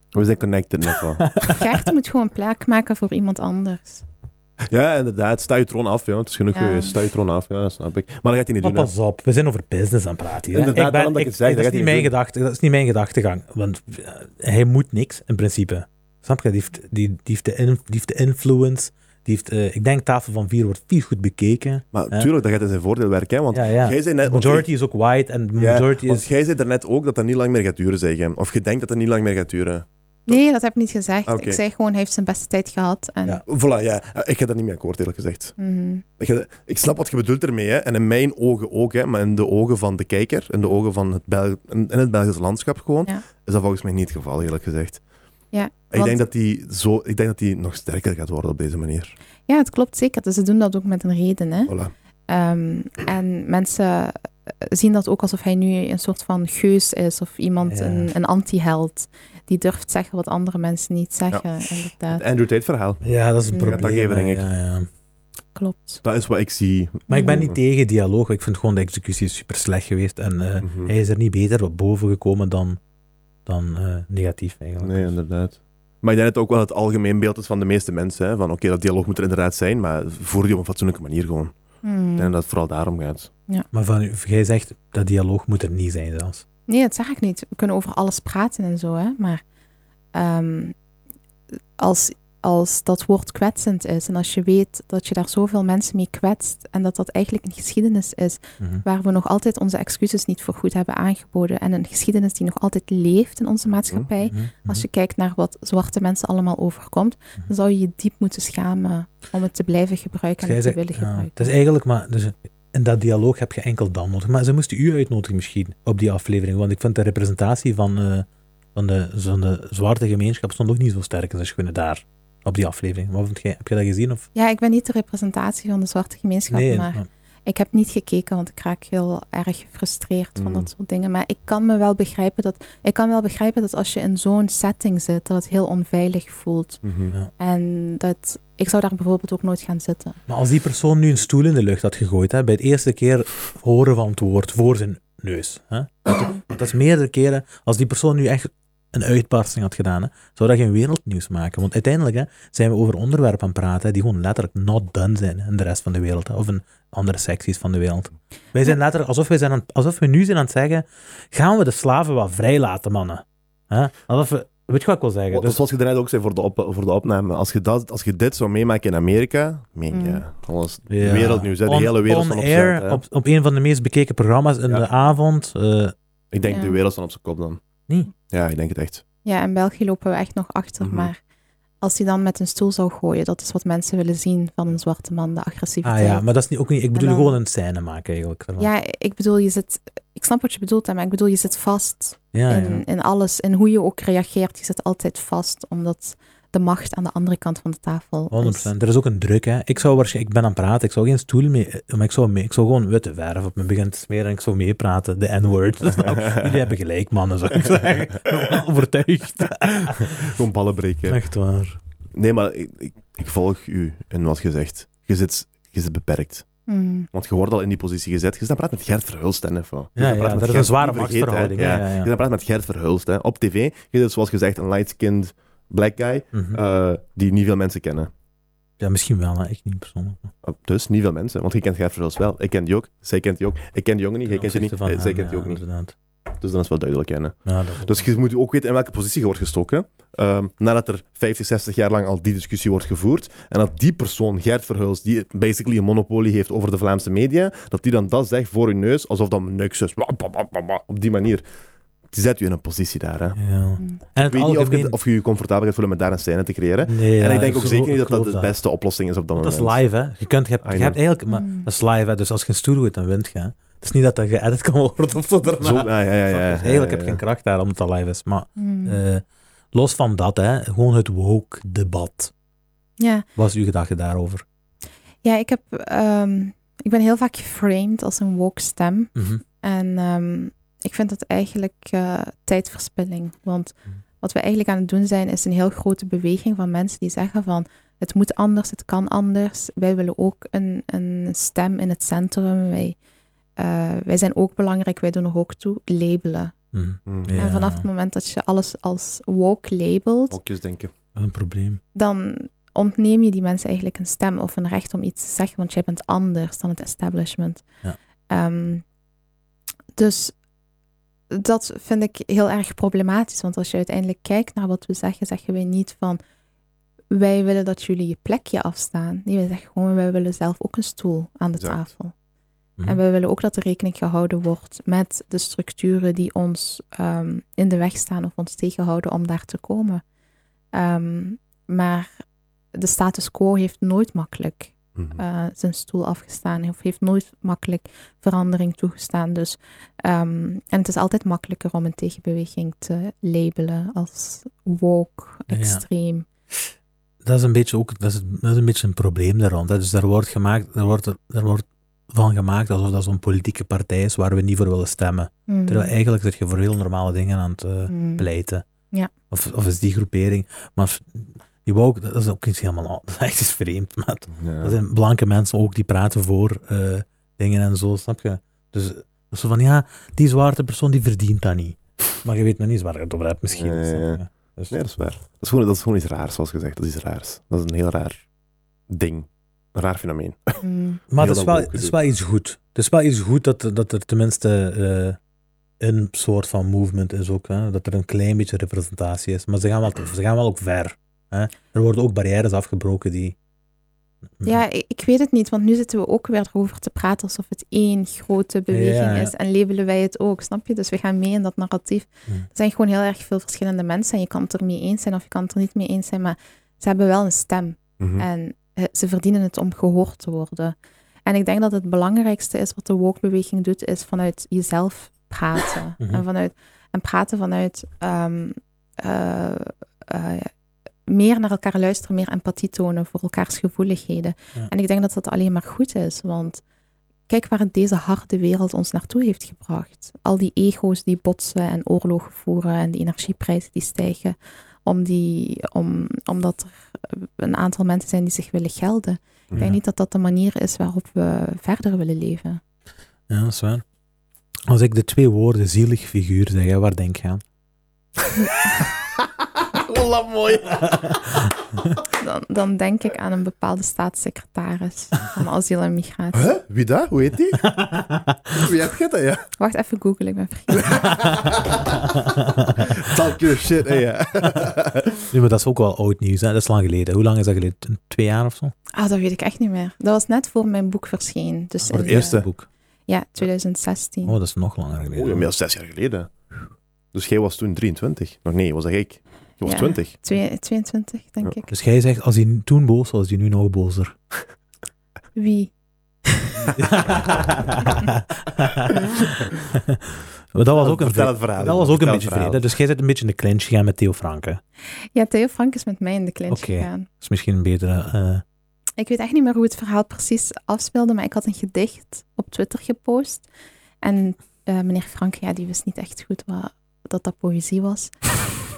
We zijn connected nog wel. Gert moet gewoon plek maken voor iemand anders. ja, inderdaad. Sta je troon af, ja. Het is genoeg Ja. geweest. Sta je troon af, ja, dat snap ik. Maar dat gaat hij niet Maar doen, hè. pas op, we zijn over business aan het praten hier. hè. Inderdaad, daarom dat ik het zei, dat, dat gaat is niet hij mijn niet gedachte, dat is niet mijn gedachtegang. Want eh, hij moet niks, in principe. Snap je? Die heeft, die, die heeft, de, in- die heeft de influence. Die heeft, eh, ik denk, Tafel van Vier wordt vier goed bekeken. Maar Ja. tuurlijk, dat gaat in zijn voordeel werken, hè. Want ja, ja. jij zei net... De want majority is ook white en de jij- ja, majority want is... jij zei daarnet ook dat dat niet lang meer gaat duren, zeg je. Of je denkt dat dat niet lang meer gaat duren. Nee, dat heb ik niet gezegd. Oké. Ik zei gewoon, hij heeft zijn beste tijd gehad. En, Ja. Voilà, ja. Ik ga daar niet mee akkoord, eerlijk gezegd. Mhm. Ik, ik snap wat je bedoelt ermee, hè. en in mijn ogen ook, hè, maar in de ogen van de kijker, in de ogen van het, Bel in, in het Belgisch landschap gewoon, Ja. is dat volgens mij niet het geval, eerlijk gezegd. Ja, ik, want- denk dat die zo, ik denk dat die nog sterker gaat worden op deze manier. ja, het klopt zeker. Dus ze doen dat ook met een reden. Hè? Voilà. Ehm, en mensen eh, zien dat ook alsof hij nu een soort van geus is of iemand, Ja. een, een anti-held, die durft zeggen wat andere mensen niet zeggen. Het Inderdaad, Andrew Tate verhaal. Ja, dat is een Ik ga dat probleem. geven, denk ik. Ja, ja. klopt. Dat is wat ik zie. Maar ik ben Mhm. niet tegen dialoog. Ik vind gewoon de executie is super slecht geweest. En eh, Mhm. hij is er niet beter op boven gekomen dan, dan eh, negatief, eigenlijk. Nee, inderdaad. Maar ik denk dat het ook wel het algemeen beeld is van de meeste mensen. Hè? Van oké, dat dialoog moet er inderdaad zijn, maar voer die op een fatsoenlijke manier gewoon. Hmm. Ik denk dat het vooral daarom gaat. Maar van, u- jij zegt dat dialoog moet er niet zijn zelfs. Nee, dat zeg ik niet. We kunnen over alles praten en zo, hè. Maar ehm, als, als dat woord kwetsend is en als je weet dat je daar zoveel mensen mee kwetst en dat dat eigenlijk een geschiedenis is Mhm. waar we nog altijd onze excuses niet voor goed hebben aangeboden en een geschiedenis die nog altijd leeft in onze maatschappij, Mhm, mhm. Als je kijkt naar wat zwarte mensen allemaal overkomt, Mhm. dan zou je je diep moeten schamen om het te blijven gebruiken en Jij het te zegt- willen ja, gebruiken. het is eigenlijk maar... Dus in dat dialoog heb je enkel dan nodig. Maar ze moesten u uitnodigen misschien op die aflevering. Want ik vond de representatie van, eh, van, de, van de zwarte gemeenschap stond ook niet zo sterk als schoenen daar. Op die aflevering. Wat vond jij? Heb je dat gezien? Of? ah. Ja, ik ben niet de representatie van de zwarte gemeenschap, maar maar- ik heb niet gekeken, want ik raak heel erg gefrustreerd van Mm. dat soort dingen. Maar ik kan me wel begrijpen dat, ik kan wel begrijpen dat als je in zo'n setting zit, dat het heel onveilig voelt. Mhm. En dat ik zou daar bijvoorbeeld ook nooit gaan zitten. Maar als die persoon nu een stoel in de lucht had gegooid, hè, bij het eerste keer horen van het woord voor zijn neus. Hè? Want dat is meerdere keren, als die persoon nu echt een uitbarsting had gedaan, hè, zou dat geen wereldnieuws maken. Want uiteindelijk hè, zijn we over onderwerpen aan het praten hè, die gewoon letterlijk not done zijn in de rest van de wereld. Hè, of in andere secties van de wereld. Wij zijn letterlijk, alsof, wij zijn aan, alsof we nu zijn aan het zeggen, gaan we de slaven wat vrijlaten, mannen? Hè? Alsof we, weet je wat ik wil zeggen? Wat- Dus- Zoals je daarnet ook zei voor de, op, voor de opname. Als je, dat, als je dit zou meemaken in Amerika, meen je, alles Ja. wereldnieuws, hè, de On- hele wereld on van op zijn air, kop. hè. op, op een van de meest bekeken programma's in Ja. de avond. eh, Ik denk Ja. de wereld van op zijn kop dan. Nee. Ja, ik denk het echt. Ja, in België lopen we echt nog achter, Mhm. maar als hij dan met een stoel zou gooien, dat is wat mensen willen zien van een zwarte man, de ah agressiviteit. ja, maar dat is niet ook niet. Ik bedoel dan- gewoon een scène maken eigenlijk. ervan. Ja, ik bedoel, je zit... Ik snap wat je bedoelt, hè, maar ik bedoel, je zit vast ja, Ah, ja. in, in alles. En hoe je ook reageert, je zit altijd vast, omdat de macht aan de andere kant van de tafel 100%. Er is ook een druk, hè. Ik zou waarschijnlijk, ik ben aan het praten, ik zou geen stoel mee, eh, maar ik zou, mee, ik zou gewoon witte verf op mijn begin te smeren en ik zou meepraten, de N-word. Nou, jullie hebben gelijk, mannen, zou ik zeggen. Ik ben wel overtuigd. Gewoon ballen breken. Echt waar. Nee, maar ik, ik, ik volg u in wat je zegt. Je zit, je zit beperkt. is. Mm. Want je wordt al in die positie gezet. Je zit aan het praten met Gert Verhulst. Hè, Neffo. Je Ja, zit aan het ja, praten dat met is een Gert, zware niet vergeten, hè. machtsverhouding. Ja, ja, Je ja. zit aan het praten met Gert Verhulst. Hè. Op tv, je zit zoals gezegd een light-skinned black guy Mhm. eh, die niet veel mensen kennen. Ja, misschien wel, hè. ik niet persoonlijk. Oh, Dus niet veel mensen, want je kent Gert Verhulst wel. Ik ken die ook, zij kent die ook. Ik ken die jongen niet, jij kent die niet, eh, zij kent die ook niet. Inderdaad. Dus dan is het wel duidelijk kennen. Ja, dat- Dus je moet ook weten in welke positie je wordt gestoken. Ehm, nadat er 50, 60 jaar lang al die discussie wordt gevoerd. En dat die persoon, Gert Verhulst, die basically een monopolie heeft over de Vlaamse media. Dat die dan dat zegt voor je neus, alsof dat niks is. Wa, wa, wa, wa, wa. Op die manier. Die zet u in een positie daar. Hè. ja. Mm. En het Ik weet niet of algemeen... je, of je je comfortabel gaat voelen met daar een scène te creëren. Nee, en ja, ik denk ook geloof- zeker niet dat geloof dat de beste oplossing is Ah, op dat Dat moment. is live, hè. Je, kunt, je, hebt, I je know. hebt eigenlijk... Maar, Mm. dat is live, hè. Dus als je een stoer gooit, dan wint je, hè. Het is niet dat dat geëdit kan worden of zo daarna. Zo, ah, ja, ja, ja, ja, Dus eigenlijk ja, heb je ja. geen kracht daar, omdat dat live is. Maar Mm. eh, los van dat, hè. Gewoon het woke-debat. ja. Wat is uw gedachte daarover? ja, ik heb... ehm, ik ben heel vaak geframed als een woke stem. Mhm, En ehm, ik vind dat eigenlijk eh, tijdverspilling. Want Hmm. wat we eigenlijk aan het doen zijn, is een heel grote beweging van mensen die zeggen van het moet anders, het kan anders. Wij willen ook een, een stem in het centrum. Wij, eh, wij zijn ook belangrijk, wij doen er ook toe. Labelen. Mhm. Hm, Ja. En vanaf het moment dat je alles als woke labelt, Hokjes denken. Wat een probleem. dan ontneem je die mensen eigenlijk een stem of een recht om iets te zeggen, want jij bent anders dan het establishment. Ja. Ehm, dus dat vind ik heel erg problematisch, want als je uiteindelijk kijkt naar wat we zeggen, zeggen wij niet van wij willen dat jullie je plekje afstaan. Nee, wij zeggen gewoon wij willen zelf ook een stoel aan de Exact. tafel. Mhm. En wij willen ook dat er rekening gehouden wordt met de structuren die ons ehm, in de weg staan of ons tegenhouden om daar te komen. Ehm, maar de status quo heeft nooit makkelijk Hm. Ah. eh, zijn stoel afgestaan of heeft nooit makkelijk verandering toegestaan. Dus, ehm, en het is altijd makkelijker om een tegenbeweging te labelen als woke, Ja. extreem. dat is een beetje ook dat is, dat is een beetje een probleem daar rond. Hè. Dus daar wordt, gemaakt, daar, wordt, daar wordt van gemaakt alsof dat zo'n politieke partij is waar we niet voor willen stemmen. Mm. Terwijl eigenlijk zit je voor heel normale dingen aan het eh, Mm. pleiten. Ja. Of, of is die groepering. Maar die woke, dat is ook iets helemaal an- Dat is echt iets vreemd. Maar Ja. dat zijn blanke mensen ook die praten voor eh, dingen en zo, snap je? Dus zo van ja, die zwarte persoon die verdient dat niet. Maar je weet nog niet waar je het over hebt, misschien. Ja, ja, snap ja. je? Dus- Nee, dat is waar. Dat is, gewoon, dat is gewoon iets raars, zoals gezegd. Dat is iets raars. Dat is een heel raar ding. Een raar fenomeen. Mm. Maar Heel het is, dat wel, woke het is gedoe. wel iets goed. Het is wel iets goed dat, er- dat er tenminste eh, een soort van movement is ook. Hè? Dat er een klein beetje representatie is. Maar ze gaan wel, te- ze gaan wel ook ver. Hè? Er worden ook barrières afgebroken die... Mhm. Ja, ik, ik weet het niet, want nu zitten we ook weer erover te praten alsof het één grote beweging Ja, ja. is en labelen wij het ook, snap je? Dus we gaan mee in dat narratief. Ja. Er zijn gewoon heel erg veel verschillende mensen en je kan het er mee eens zijn of je kan het er niet mee eens zijn, maar ze hebben wel een stem. Mhm. En eh, ze verdienen het om gehoord te worden. En ik denk dat het belangrijkste is wat de woke-beweging doet, is vanuit jezelf praten. Mhm. en, vanuit, en praten vanuit ehm, eh, eh, meer naar elkaar luisteren, meer empathie tonen voor elkaars gevoeligheden. Ja. En ik denk dat dat alleen maar goed is, want kijk waar deze harde wereld ons naartoe heeft gebracht. Al die ego's die botsen en oorlogen voeren en die energieprijzen die stijgen, om die, om, omdat een aantal mensen zijn die zich willen gelden. Ik denk niet dat dat de manier is waarop we verder willen leven. Ja, dat is waar. Als ik de twee woorden zielig figuur zeg, hè, waar denk je aan? Voilà, mooi. Dan, dan denk ik aan een bepaalde staatssecretaris van asiel en migratie. Huh? Wie dat? Hoe heet die? Wie heb je dat, ja? Wacht even googlen, ik ben vergeten. Talk your shit, hè, ja. nu, maar dat is ook wel oud nieuws, hè? dat is lang geleden. Hoe lang is dat geleden? Een- Twee jaar of zo? Ah, dat weet ik echt niet meer. Dat was net voor mijn boek verscheen. Dus Voor het in, eh, eerste. boek. Ja, 2016. Oh, dat is nog langer geleden. Oh, ja, meer zes jaar geleden. Dus jij was toen 23. Nog nee, was dat ik. Je was Ja. 20. Twee- 22, denk ik. Dus jij zegt, als hij toen boos was, is hij nu nog bozer. Wie? Maar dat was ook een, Vertel vri- het verhaal. dat was ook Vertel het een beetje verhaal. vrede. Dus jij zit een beetje in de clinch gegaan met Theo Franke. Dat Ja, Theo Frank is met mij in de clinch Oké. gegaan. is misschien een betere... eh, Ik weet echt niet meer hoe het verhaal precies afspeelde, maar ik had een gedicht op Twitter gepost. En eh, meneer Frank, ja, die wist niet echt goed wat, dat dat poëzie was.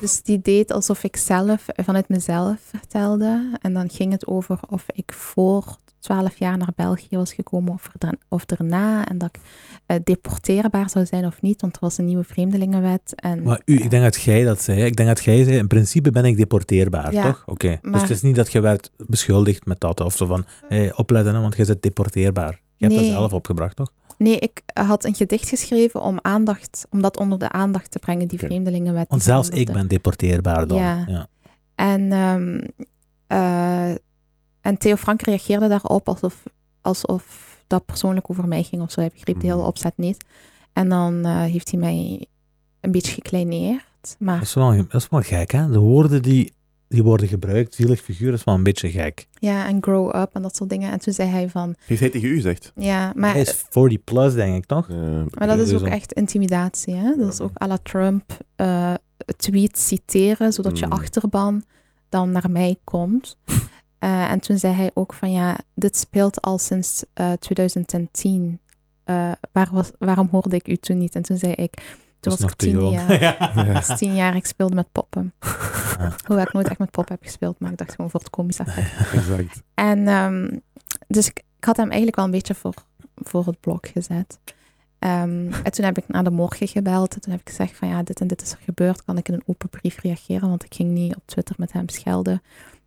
Dus die deed alsof ik zelf vanuit mezelf vertelde. En dan ging het over of ik voor 12 jaar naar België was gekomen of, er, of daarna. En dat ik eh, deporteerbaar zou zijn of niet, want er was een nieuwe vreemdelingenwet. En, Maar u, ik denk dat jij dat zei. hè. Ik denk dat jij zei, in principe ben ik deporteerbaar, Ja, toch? Oké. Dus maar- het is niet dat je werd beschuldigd met dat, of zo van, hey, opletten, hè, want jij bent deporteerbaar. Je hebt Nee. dat zelf opgebracht, toch? Nee, ik had een gedicht geschreven om aandacht, om dat onder de aandacht te brengen, die Oké. vreemdelingenwet. Want die zelfs ik veranderde. ben deporteerbaar dan. Ja. En, ehm, eh, en Theo Frank reageerde daarop alsof, alsof dat persoonlijk over mij ging of zo. Hij begreep de Mhm. hele Mm. opzet niet. En dan eh, heeft hij mij een beetje gekleineerd. Dat, Maar is wel, dat is wel gek, hè? De woorden die, die worden gebruikt, zielig figuur, is wel een beetje gek. ja, en grow up en dat soort dingen. En toen zei hij van, Heeft hij tegen u gezegd? ja, Hij maar, is 40 plus, denk ik, toch? Eh, maar dat is Dus ook dan- echt intimidatie. Hè? Dat is ook à la Trump eh tweet citeren, zodat je Mm. achterban dan naar mij komt. Eh, en toen zei hij ook van ja, dit speelt al sinds eh, 2010. Eh, waar was, waarom hoorde ik u toen niet? En toen zei ik, toen Dat is was nog ik te tien jong. jaar. Ja. Ik was tien jaar, ik speelde met poppen. Ja. Hoewel ik nooit echt met poppen heb gespeeld, maar ik dacht gewoon voor het komisch effect. Exact. En ehm, dus ik, ik had hem eigenlijk wel een beetje voor, voor het blok gezet. Ehm, en toen heb ik naar de morgen gebeld. En toen heb ik gezegd van ja, dit en dit is er gebeurd. Kan ik in een open brief reageren? Want ik ging niet op Twitter met hem schelden.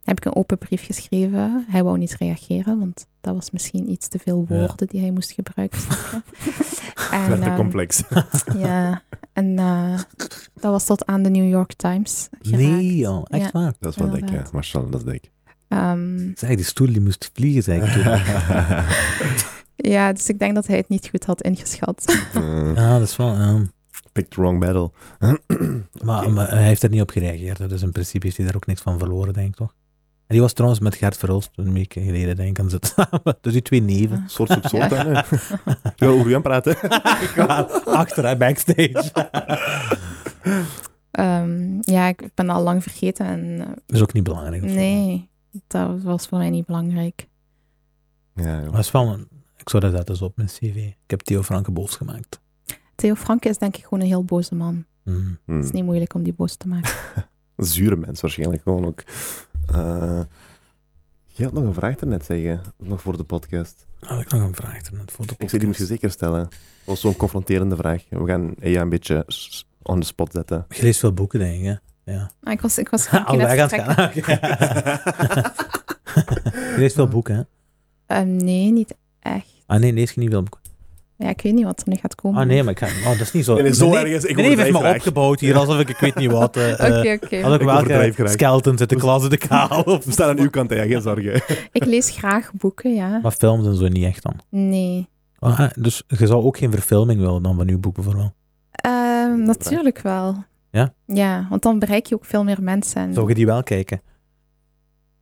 Heb ik een open brief geschreven. Hij wou niet reageren, want dat was misschien iets te veel Ja. woorden die hij moest gebruiken. snap je? Het werd te ehm, complex. ja, en eh, dat was tot aan de New York Times geraakt. Nee, joh, echt Ja. waar. Dat is wat ik, ja. inderdaad. Marcel, dat is denk ik. Ehm, Zeg, die stoel die moest vliegen, zei ik toen. ja, dus ik denk dat hij het niet goed had ingeschat. Eh, Ja, dat is wel... ja. Picked wrong battle. Maar, maar hij heeft er niet op gereageerd. hè. Dus in principe heeft hij daar ook niks van verloren, denk ik toch? En die was trouwens met Gert Verhulst een week geleden, denk ik, aan het samen. Dus die twee neven. Soort zoek soort dan, hè. Ik wil over u aan praten. Achter en backstage. Ehm, ja, ik ben al lang vergeten en eh, Dat is ook niet belangrijk. of zo. nee, dat was voor mij niet belangrijk. Ja, joh. Maar het is wel een, ik zou dat zetten zo op mijn cv. Ik heb Theo Franke boos gemaakt. Theo Franke is denk ik gewoon een heel boze man. Hmm. Het is Hmm. niet moeilijk om die boos te maken. Zure mens waarschijnlijk gewoon ook. Eh, je had nog een vraag daarnet zeggen, nog voor de podcast. Had ik nog een vraag daarnet voor de Ik zei, die moet je podcast? zeker stellen. Dat was zo'n confronterende vraag. We gaan Ea een beetje s- on the spot zetten. Je leest veel boeken, denk ik, hè? Ja. Ah, ik was, ik was Al net weg aan het vertrekken. gaan. je leest veel boeken, hè? Ehm, nee, niet echt. Ah nee, lees je niet veel boeken. Ja, ik weet niet wat er nu gaat komen. Ah nee, maar ik ga... Oh, dat is niet zo... Nee, nee, zo Meneer- erg is- ik meneer heeft overdrijf me graag. opgebouwd hier, alsof ik ik weet niet wat... eh, eh, Oké, oké. Had ik Ik wel overdrijf ge- graag. Dus- skeletons uit de klas uit de kaal. of- We staan aan uw kant, hè, geen zorgen. Ik lees graag boeken, ja. Maar films en zo niet echt dan. Nee. Ah, dus je zou ook geen verfilming willen dan van uw boek bijvoorbeeld? Ehm, Vraag. natuurlijk wel. Ja? Ja, want dan bereik je ook veel meer mensen. En, Zou je die wel kijken?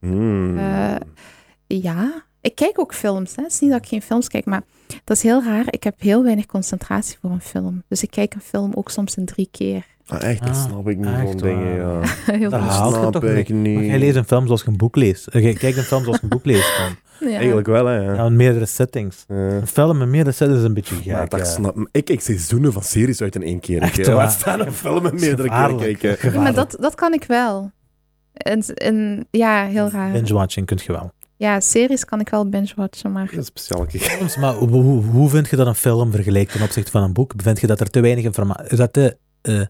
Hmm. Eh, Ja, ik kijk ook films. Hè. Het is niet dat ik geen films kijk, maar dat is heel raar. Ik heb heel weinig concentratie voor een film. Dus ik kijk een film ook soms in drie keer. Ah, echt, dat ah, snap ik niet. echt Gewoon dingen, ja. waar. heel Daar Dat veel. haalt je snap toch ik niet. Maar jij leest een film zoals je een boek leest. Eh, Jij kijkt een film zoals je een boek leest. Dan. Ja. Eigenlijk wel, hè. ja. Ja, in meerdere settings. Eh, Een film in meerdere settings is een beetje gek. maar dat ja. eh, snap ik. Ik zie seizoenen van series uit in één keer. Echt Echt, waar. Laat staan een film en meerdere keer Gevaarlijk. kijken. Ja, maar dat, dat kan ik wel. En, en, ja, heel raar. eh, Binge-watching kun je wel. Ja, series kan ik wel binge-watchen, maar... Dat is speciaal. kijk. Soms, maar hoe- hoe, hoe vind je dat een film vergelijkt ten opzichte van een boek? Vind je dat er te weinig informatie... Is dat te... eh,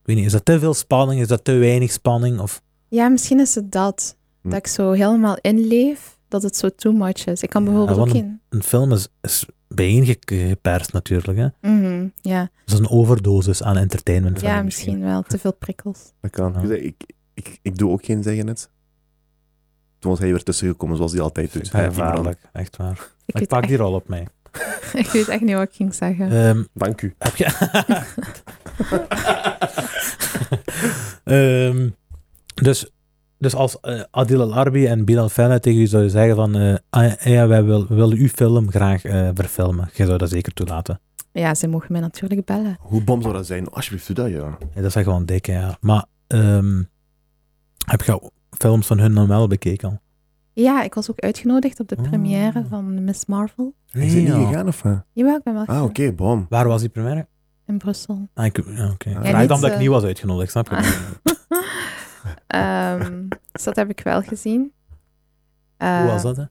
ik weet niet, is dat te veel spanning? Is dat te weinig spanning? Of... Ja, misschien is het dat. Hm. Dat ik zo helemaal inleef, dat het zo too much is. Ik kan Ja, bijvoorbeeld ook want- geen... Een film is, is bijeengeperst natuurlijk. Hè? Dus Mhm, ja, Dat is een overdosis aan entertainment. ja misschien wel. Te veel prikkels. Dat kan. Ja. Ik, zeg, ik, ik, ik doe ook geen zeggen net. Toen was hij weer tussengekomen, zoals hij altijd doet. Ja, Die brand. waarlijk, echt waar. Ik, Maar Ik weet pak echt, die rol op mij. ik weet echt niet wat ik ging zeggen. Ehm, Dank u. Heb je... Ehm, dus, dus als eh, Adil Al-Arbi en Bilal Fella tegen u zouden zeggen van... eh, ah, ja, wij wil- willen uw film graag eh, verfilmen. Jij zou dat zeker toelaten. Ja, ze mogen mij natuurlijk bellen. Hoe bom zou dat zijn? Alsjeblieft, doe dat, ja. Ja, dat is echt wel een dikke, ja. Maar ehm, heb je al films van hun dan wel bekeken al? Ja, ik was ook uitgenodigd op de Oh. première van Miss Marvel. Is het niet gegaan, of? wat? Jawel, ik ben wel Ah, gegaan. oké, bom. Waar was die première? in Brussel. Ah, ik, ja, oké. Ja, Vraag niet, dan dat ik eh, niet was uitgenodigd, snap je? Ehm, dus dat heb ik wel gezien. Hoe was Eh, dat, hè?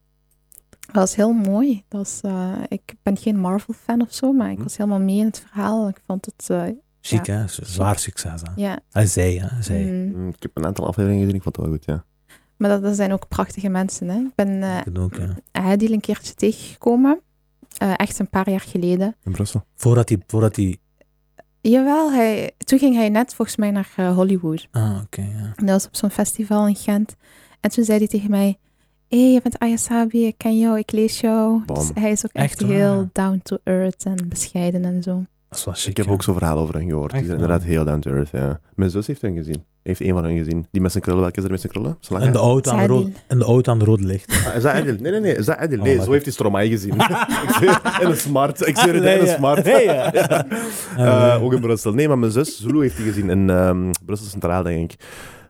Dat was heel mooi. Dat was, eh, ik ben geen Marvel-fan of zo, maar ik Hm. was helemaal mee in het verhaal. Ik vond het, eh, Chic, hè? Zwaar succes, hè? ja. Ah, zij, hè? Zij. mm. Mm, Ik heb een aantal afleveringen gezien, ik vond het wel goed, ja. Maar dat, dat zijn ook prachtige mensen. Hè. Ik ben eh Ik ook, ja. Adil een keertje tegengekomen. Eh, echt een paar jaar geleden. In Brussel. Voordat die... Voordat die Jawel, hij, toen ging hij net volgens mij naar eh, Hollywood. ah, oké, ja. En dat was op zo'n festival in Gent. En toen zei hij tegen mij... Hé, je bent Ayasabi, ik ken jou, ik lees jou. Bam. Dus hij is ook echt, Echt waar? heel down to earth en bescheiden en zo. Dat is wel chic, Ik heb ja. ook zo'n verhaal over hen gehoord. Echt Die zijn waar? inderdaad heel down to earth, ja. Mijn zus heeft hen gezien. Heeft één van hen gezien. Die met zijn krullen, welke is er met zijn krullen? Zo'n lange? En de auto aan de Zadel. rood, en de auto aan de rood licht. Ah, Is dat Adil? Nee, nee, nee. Is dat Adil? Oh, Ah, Nee, lekker. zo heeft hij Stromae gezien. ik zweer, in een smart. Ik zweer het, in een smart. Nee, ja. Ja. Eh, Eh, ook in Brussel. Nee, maar mijn zus Zulu heeft die gezien in ehm, Brussel Centraal, denk ik.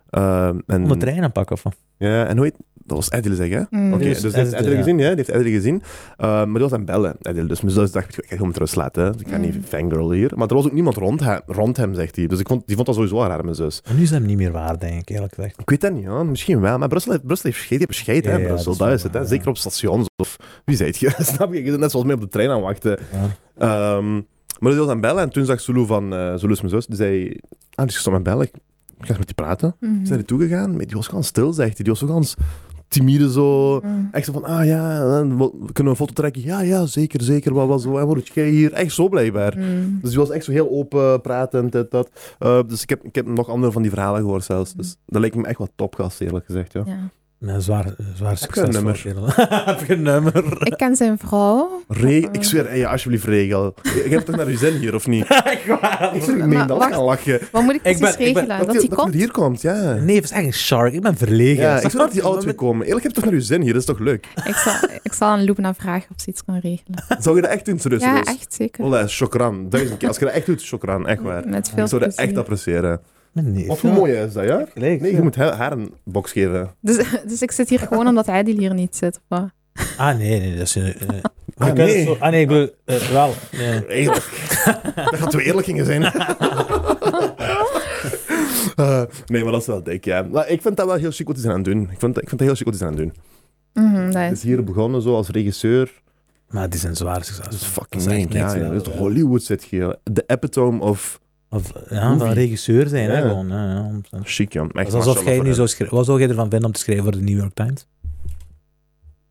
Ehm, en, Om de trein aanpakken of wat? Ja, en hoe heet... Dat was Adil, zeg hè? Oké, Mm. Dus dus die heeft Adil, Adil ja. gezien, ja. Die heeft Adil gezien. Ehm, maar die was aan het bellen, Adil. Dus mijn zus dacht, weet je, ik ga gewoon met rust laten. hè. Dus Ik ga niet Mm. fangirl hier. Maar er was ook niemand rond hem, rond hem zegt hij. Dus ik vond, die vond dat sowieso raar, mijn zus. Maar nu is dat niet meer waar, denk ik, eerlijk gezegd. Ik weet dat niet, ja. misschien wel. Maar Brussel heeft, Brussel heeft scheet, je hebt scheet, Ja, hè, ja, Brussel. dat is Dat wel is het, waar, hè. ja. Zeker op stations. Of wie zei je? Snap je? Je zit net zoals mij op de trein aan het wachten. Ja. Ehm, maar die was aan het bellen en toen zag Zulu van... eh Zulu is mijn zus. Die zei... Ah, die is aan het bellen. Ik ik ga eens met die praten. Mhm. Ze zijn er toegegaan. maar Die was gewoon stil, zegt hij. Die was zo gans timide zo. Mm. Echt zo van, ah ja, eh, wat- kunnen we een foto trekken? Ja, ja, zeker, zeker. Wat was zo? En word jij hier? Echt zo blijkbaar. Mm. Dus die was echt zo heel open, pratend, dit, dat. Eh, dus ik heb, ik heb nog andere van die verhalen gehoord zelfs. Dus dat leek me echt wat topgast, eerlijk gezegd, ja. Mm-hmm. Ja. Een zwaar, zwaar succes. nummer. Heb je een nummer? Ik ken zijn vrouw. Re- ik zweer, hey, alsjeblieft, regel. Je hebt toch naar uw zin hier, of niet? Echt waar? Ik zweer, ik Maar meen dat ik wacht. kan lachen. Wat moet ik ben- precies ik ben- regelen? dat die- hij komt? die hier komt, ja. Nee, het is echt een shark. Ik ben verlegen. Ja, ik zou dat die alle altijd. twee komen. Eerlijk, je hebt toch naar uw zin hier, dat is toch leuk? Ik zal, ik zal aan Loebna vragen of ze iets kan regelen. Zou je Dus dat echt doen, serieus? ja, serieus? echt zeker. Ola, chokran. Duizend keer. Als je dat echt doet, chokran, echt waar. Met veel Ik zou dat plezier. echt appreciëren. Nee, Of hoe mooi is dat, ja? Gelijk. Nee, je moet haar haar een box geven. Dus, dus ik zit hier gewoon omdat hij die hier niet zit. of wat? Ah, nee, nee, dat is... eh, eh, Ah, je kunt nee. zo- ah, nee, ik bedoel, eh, wel. nee. Eerlijk. dat we eerlijk gingen zijn. Eh, nee, maar dat is wel dik, ja. Maar ik vind dat wel heel chic wat hij aan het doen. Ik vind, ik vind dat heel chic wat hij aan het doen. Mm, Mhm, dat Hij is. is hier begonnen zo als regisseur. Maar die zijn zwaar succes. Dat is Dat is fucking echt niks. Ja, niks, ja. ja. Dat is Hollywood zit hier. De epitome of... Of ja, van Movie. regisseur zijn, hè, Ja. gewoon. Ja, ja, 100%. Chic, ja. Echt, Dat is alsof mashallah jij voor nu hem. zou schrijven. Wat zou jij ervan vinden om te schrijven voor de New York Times?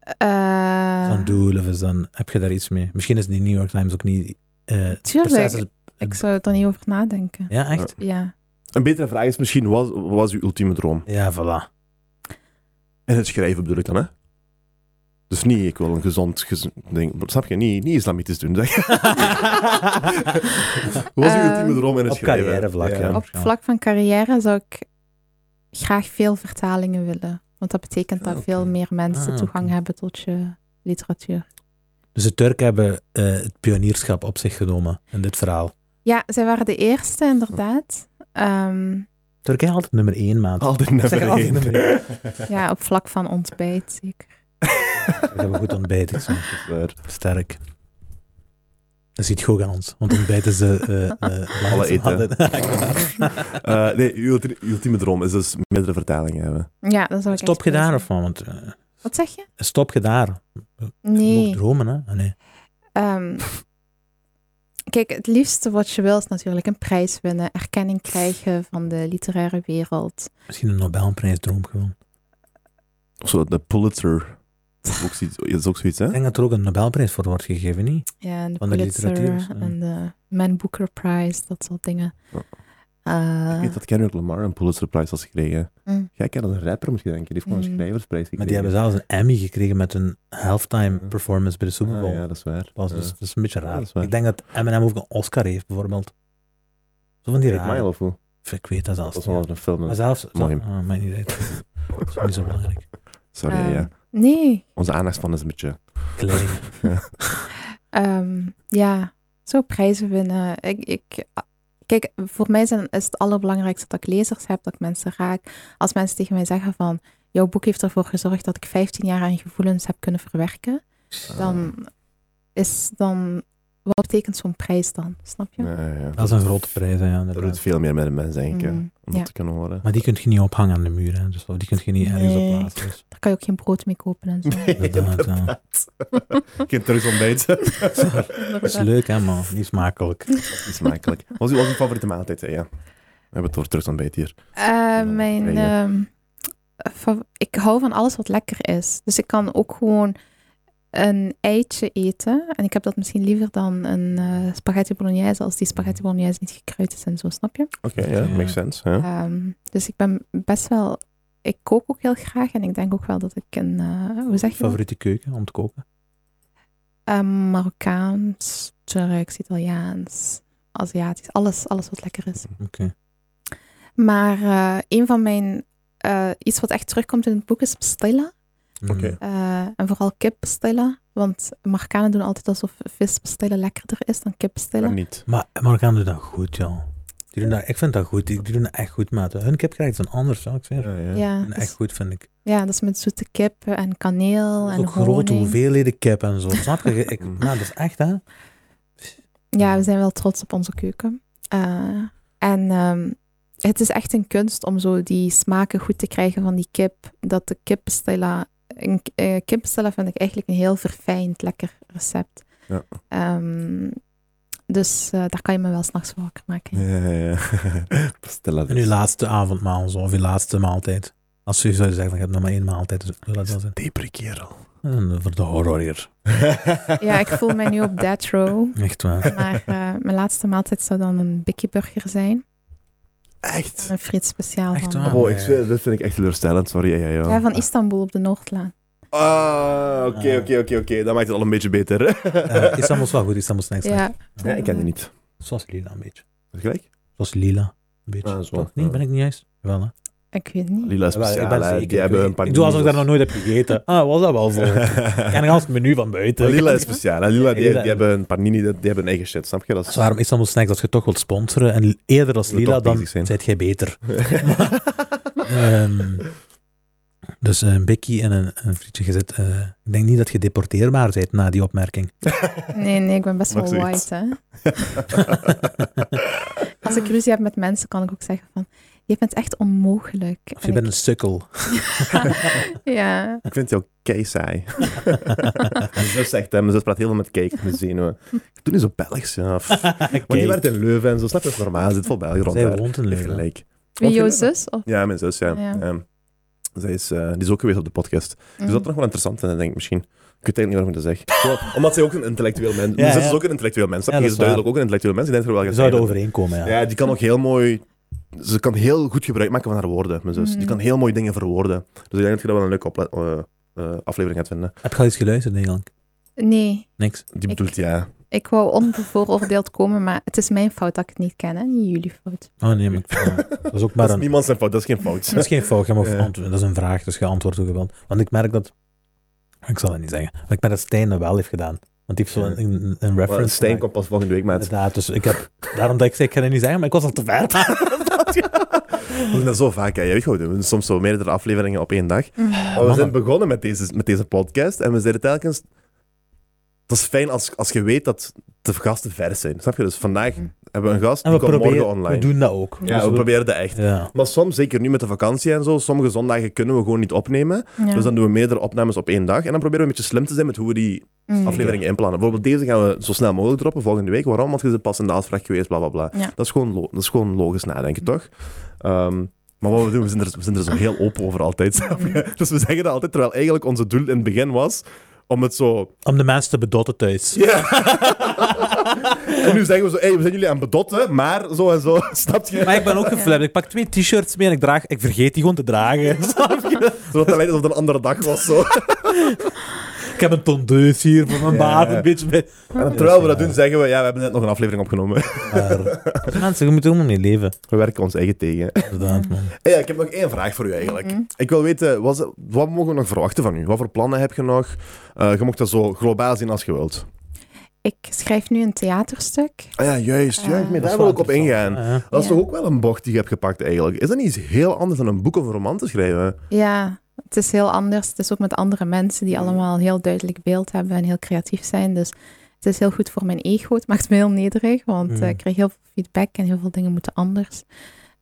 Eh, Zo'n doel of is dan, heb je daar iets mee? Misschien is de New York Times ook niet. eh, het Tuurlijk. proces is- Ik zou er niet over nadenken. Ja, echt? Ja. Een betere vraag is misschien, wat wat was uw ultieme droom? Ja, voilà. En het schrijven bedoel ik dan, hè? Dus niet, ik wil een gezond gez- ding. Maar Snap je? Niet, niet islamitisch doen, zeg. Wat was uw Eh, ultieme droom in het op schrijven? carrièrevlak, ja. Op vlak van carrière zou ik graag veel vertalingen willen. Want dat betekent dat Ah, oké. veel meer mensen Ah, toegang oké. hebben tot je literatuur. dus de Turken hebben eh, het pionierschap op zich genomen in dit verhaal. Ja, zij waren de eerste, inderdaad. Ehm, Turkije altijd nummer één maand. Oh. Altijd Zeg nummer altijd één. nummer één. ja, op vlak van ontbijt, zeker. We hebben goed ontbijt. ik zeg. Waar. Sterk. Dat ziet goed aan ons, want ontbijt is de... Eh, Alle eten. Eh, nee, uw ulti- ultieme droom is dus meerdere vertalingen hebben. Ja, dat zou ik echt Stop willen gedaan zijn. of wat? Want, eh, Wat zeg je? Stop je daar. Je Nee. mag dromen, hè? Ah, Nee. Ehm, kijk, het liefste wat je wil is natuurlijk een prijs winnen, erkenning krijgen van de literaire wereld. Misschien een Nobelprijs droom gewoon. Of zo, de Pulitzer. Dat is ook zoiets, dat is ook zoiets, hè? Ik denk dat er ook een Nobelprijs voor wordt gegeven, niet? Ja, en de Van de Pulitzer literatuur, ja. en de Man Booker Prize, dat soort dingen. Ja. Eh, Ik weet dat Kendrick Lamar een Pulitzerprijs had gekregen. mm, Jij kent als een rapper, moet je denken. Die heeft gewoon een Mm. schrijversprijs gekregen. Maar die hebben zelfs een Emmy gekregen met een halftime Ja. performance bij de Super Bowl. Ah, ja, dat is waar. Dat is, Ja. dus, dat is een beetje Ja, raar. dat is waar. ik denk dat Eminem ook een Oscar heeft, bijvoorbeeld. Zo van die Kijk, raar. Mile of hoe? Ik weet dat zelfs. Dat is niet. wel een film. Maar hè. zelfs... Mooi. Ah, maakt niet uit. Dat is niet zo belangrijk. Sorry, ehm, ja. Nee, Onze aandachtspan is een beetje... Klein. Ehm, ja, zo prijzen winnen. Ik, ik, kijk, voor mij zijn, is het allerbelangrijkste dat ik lezers heb, dat ik mensen raak. Als mensen tegen mij zeggen van, jouw boek heeft ervoor gezorgd dat ik 15 jaar aan gevoelens heb kunnen verwerken, Ah. dan is dan, wat betekent zo'n prijs dan? Snap je? Ja, ja, ja. Dat is een grote prijs, hè, ja, Dat doet inderdaad. veel meer met een mens, denk ik. hè, Mm, Om ja. dat te kunnen horen. Maar die kun je niet ophangen aan de muur, hè. Dus die kun je niet ergens Nee. op plaatsen. Dus. Daar kan je ook geen brood mee kopen en zo. Inderdaad, ja. Kind terug ontbijten. Dat is leuk, hè, man. Niet smakelijk. Dat is makkelijk. Wat is wat is uw favoriete maaltijd? hè, Ja. We hebben het woord terug ontbijt hier. Eh, mijn, Nee, ja. ehm, fa- ik hou van alles wat lekker is. Dus ik kan ook gewoon een eitje eten. En ik heb dat misschien liever dan een eh, spaghetti bolognese, als die spaghetti bolognese niet gekruid is en zo, snap je? Oké, Oké, ja, ja. makes sense. hè. Ehm, dus ik ben best wel. Ik kook ook heel graag en ik denk ook wel dat ik een. eh, hoe zeg je? dat? Favoriete keuken om te koken? Eh, Marokkaans, Turks, Italiaans, Aziatisch. Alles, alles wat lekker is. Oké. Maar eh, een van mijn. eh, iets wat echt terugkomt in het boek is pastilla. Mm. Oké. Eh, en vooral kip bestellen. Want Marokkanen doen altijd alsof vis bestellen lekkerder is dan kip Maar bestellen. niet. Maar Marokkanen doen dat goed, joh. Die doen dat, ik vind dat goed. Die, die doen dat echt goed, maat. Hun kip krijgt dan anders, ja, ik zeg. Ja, ja. Ja, Die doen dus- dat echt goed, vind ik. ja, dat is met zoete kip en kaneel Dat is en ook grote honing. hoeveelheden kip en zo. Snap je? Ik, nou, dat is echt, hè? Ja, we zijn wel trots op onze keuken. Eh, en ehm, het is echt een kunst om zo die smaken goed te krijgen van die kip. Dat de kip bestellen... Een eh, kip bestellen vind ik eigenlijk een heel verfijnd, lekker recept. Ja. Ehm, dus eh, daar kan je me wel s'nachts voor wakker maken. Ja, ja, ja. Pastilla En uw dus. laatste avondmaal zo, of uw laatste maaltijd. Als je zou zeggen, ik heb nog maar één maaltijd, dus ik wil dat wel zijn. Depre kerel. En eh, voor de horror hier. Ja, ik voel mij nu op death row. Echt waar. Maar eh, mijn laatste maaltijd zou dan een Bikkie Burger zijn. Echt? Een friet speciaal Echt van, waar? Oh, ik, zweer, dat vind ik echt teleurstellend, sorry. Ja, ja, ja. ja, van Istanbul op de Noordlaan. Ah, oké, oké, oké, oké. Dat maakt het al een beetje beter. Eh Istanbul is wel goed, Istanbul is niks. Ja. Ja, Ja, ik ken die niet. Zoals lila een beetje. Is gelijk? Zoals lila. Een beetje. Ah, zo, Toch? Nee, ja. ben ik niet juist? Wel, hè? ik weet niet. Lila Jawel, speciaal. hè. zeker- Die hebben een paar Ik doe alsof ik daar nog nooit heb gegeten. Ah, was dat wel zo? Ik ken nog het menu van buiten. Lila is speciaal. hè. Lila, die, Lila- die hebben een panini, die hebben een eigen shit, snap je? Dat Dus is... waarom Istanbul Snacks als je toch wilt sponsoren en eerder als Wil Lila, toch dan bezig zijn. zijt jij beter. Ehm, dus een bikkie en een, een frietje gezet. eh, ik denk niet dat je deporteerbaar bent na die opmerking. Nee, nee, ik ben best Nog wel zoiets. white, hè. Als ik ruzie heb met mensen, kan ik ook zeggen van... Je bent echt onmogelijk. Of En je ik- bent een sukkel. Ja, Ik vind jou kei saai. Mijn zus zegt hem, mijn zus praat heel veel met cake, met zenuwen. Ik doe niet zo Belgisch, ja. Pff. Want je Kijk, werkt in Leuven en zo, snap je? Dat is normaal, er zit vol België rond Zij daar. woont in Heeft Leuven. gelijk. wie Wat jouw vind je? zus? Of... Ja, mijn zus, ja. Ja. Ja. Zij is, eh, die is ook geweest op de podcast. Dus Mhm. dat is nog wel interessant, vind, denk ik misschien. Ik weet eigenlijk niet waarom ik dat zeg. Gewoon, omdat zij ook een intellectueel mens is. Mijn Ja, zus ja. is ook een intellectueel mens. snap Ja, je? dat Ze is is waar. duidelijk ook een intellectueel mens. Ik denk dat er wel Je gaat zou er zijn. overeenkomen, ja. Ja, die kan ook heel mooi... Ze kan heel goed gebruik maken van haar woorden, mijn zus. Die Mhm. kan heel mooi dingen verwoorden. Dus ik denk dat je dat wel een leuke opla- eh, eh, aflevering gaat vinden. Heb je al iets geluisterd eigenlijk? Mm. Nee, Niks. Die bedoelt, ja... ik wou onbevooroordeeld komen, maar het is mijn fout dat ik het niet ken, hè. Niet jullie fout. Oh nee, maar ik- ja. dat is ook maar Dat is een... niemand zijn fout, dat is geen fout. Dat is geen fout, je mag Ja. antwoorden. Dat is een vraag, dus je antwoordt ook wel. Want ik merk dat... Ik zal dat niet zeggen. Maar ik merk dat Stijn dat wel heeft gedaan. Want die heeft zo Ja. een, een, een reference Maar Stijn gemaakt. komt pas volgende week, maat. Inderdaad, dus ik heb... Daarom dat ik zei, ik ga dat niet zeggen, maar ik was al te ver. We doen dat zo vaak, hè. Je weet gewoon, we doen soms zo meerdere afleveringen op één dag. Maar we Mama. zijn begonnen met deze, met deze podcast en we zeiden telkens... Het is fijn als, als je weet dat de gasten vers zijn. Snap je? Dus vandaag Mm. hebben we een gast, En die we komt morgen proberen, we online. doen dat ook. ja, Dus we proberen dat echt. Ja. Maar soms, zeker nu met de vakantie en zo, sommige zondagen kunnen we gewoon niet opnemen. Ja. Dus dan doen we meerdere opnames op één dag. En dan proberen we een beetje slim te zijn met hoe we die Mm. afleveringen inplannen. Bijvoorbeeld deze gaan we zo snel mogelijk droppen volgende week. Waarom? Want je zit pas in de afspraak geweest, bla bla bla. Ja. Dat, is gewoon lo- dat is gewoon logisch nadenken, toch? Ehm, maar wat we doen, we zijn, er, we zijn er zo heel open over altijd. Mm. snap je? Dus we zeggen dat altijd, terwijl eigenlijk onze doel in het begin was om het zo... Om de mensen te bedotten thuis. Ja. en nu zeggen we zo, hey, we zijn jullie aan het bedotten, maar zo en zo, snap je? Maar ik ben ook geflapt. Ik pak twee t-shirts mee en ik, draag, ik vergeet die gewoon te dragen. Snap je? Zodat het lijkt alsof het een andere dag was, zo. ik heb een tondeus hier voor mijn Ja. baard. Een beetje bij... En terwijl we dat doen, zeggen we, ja, we hebben net nog een aflevering opgenomen. Maar, mensen, je moet helemaal niet leven. We werken ons eigen tegen. Inderdaad, man. Hey, ja, ik heb nog één vraag voor u eigenlijk. Mm. Ik wil weten, was- wat mogen we nog verwachten van u? Wat voor plannen heb je nog? Eh, je mocht dat zo globaal zien als je wilt. Ik schrijf nu een theaterstuk. Ah ja, juist. juist Eh, nee, Dat daar is wil wel ik op ingaan. interessant. Ja, ja. Dat is Ja. toch ook wel een bocht die je hebt gepakt eigenlijk? Is dat niet iets heel anders dan een boek of een roman te schrijven? Ja, het is heel anders. Het is ook met andere mensen die allemaal een heel duidelijk beeld hebben en heel creatief zijn. Dus het is heel goed voor mijn ego. Het maakt me heel nederig, want eh, Mm. ik krijg heel veel feedback en heel veel dingen moeten anders.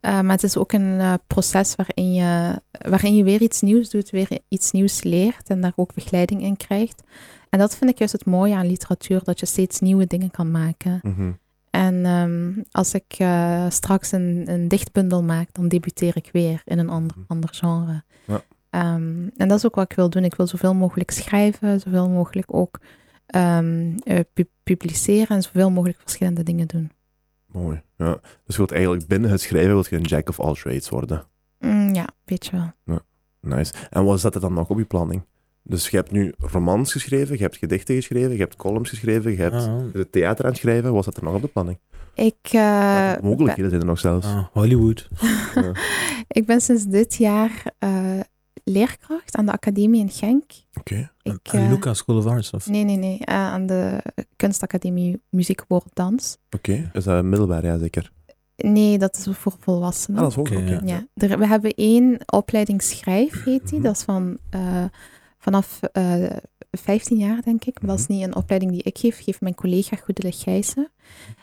Eh, maar het is ook een eh, proces waarin je, waarin je weer iets nieuws doet, weer iets nieuws leert en daar ook begeleiding in krijgt. En dat vind ik juist het mooie aan literatuur, dat je steeds nieuwe dingen kan maken. Mhm. En ehm, als ik eh, straks een, een dichtbundel maak, dan debuteer ik weer in een ander, ander genre. Mhm. Ja. Ehm, en dat is ook wat ik wil doen. Ik wil zoveel mogelijk schrijven, zoveel mogelijk ook ehm, eh, pu- publiceren en zoveel mogelijk verschillende dingen doen. Mooi. Ja. Dus je wilt eigenlijk binnen het schrijven wilt je een jack of all trades worden. Mm, ja, weet je wel. Nice. En wat zet er dan nog op je planning? Dus je hebt nu romans geschreven, je hebt gedichten geschreven, je hebt columns geschreven, je hebt Ah, het theater aan het schrijven. Wat zat er nog op de planning? Ik, eh, Welke mogelijkheden zijn er nog zelfs? ah, Hollywood. Ja. ik ben sinds dit jaar eh, leerkracht aan de academie in Genk. Oké. Ik, Aan eh, Lucas School of Arts. Of... nee, nee, nee. eh, aan de kunstacademie muziek, woord, dans. Oké, is dat middelbaar, ja zeker. Nee, dat is voor volwassenen. Ah, dat is ook Oké, oké. ja. Ja, er- we hebben één opleiding schrijf, heet die. Mhm. Dat is van, eh, vanaf eh 15 jaar, denk ik. Maar dat is niet een opleiding die ik geef, geeft mijn collega Goedele Gijzen.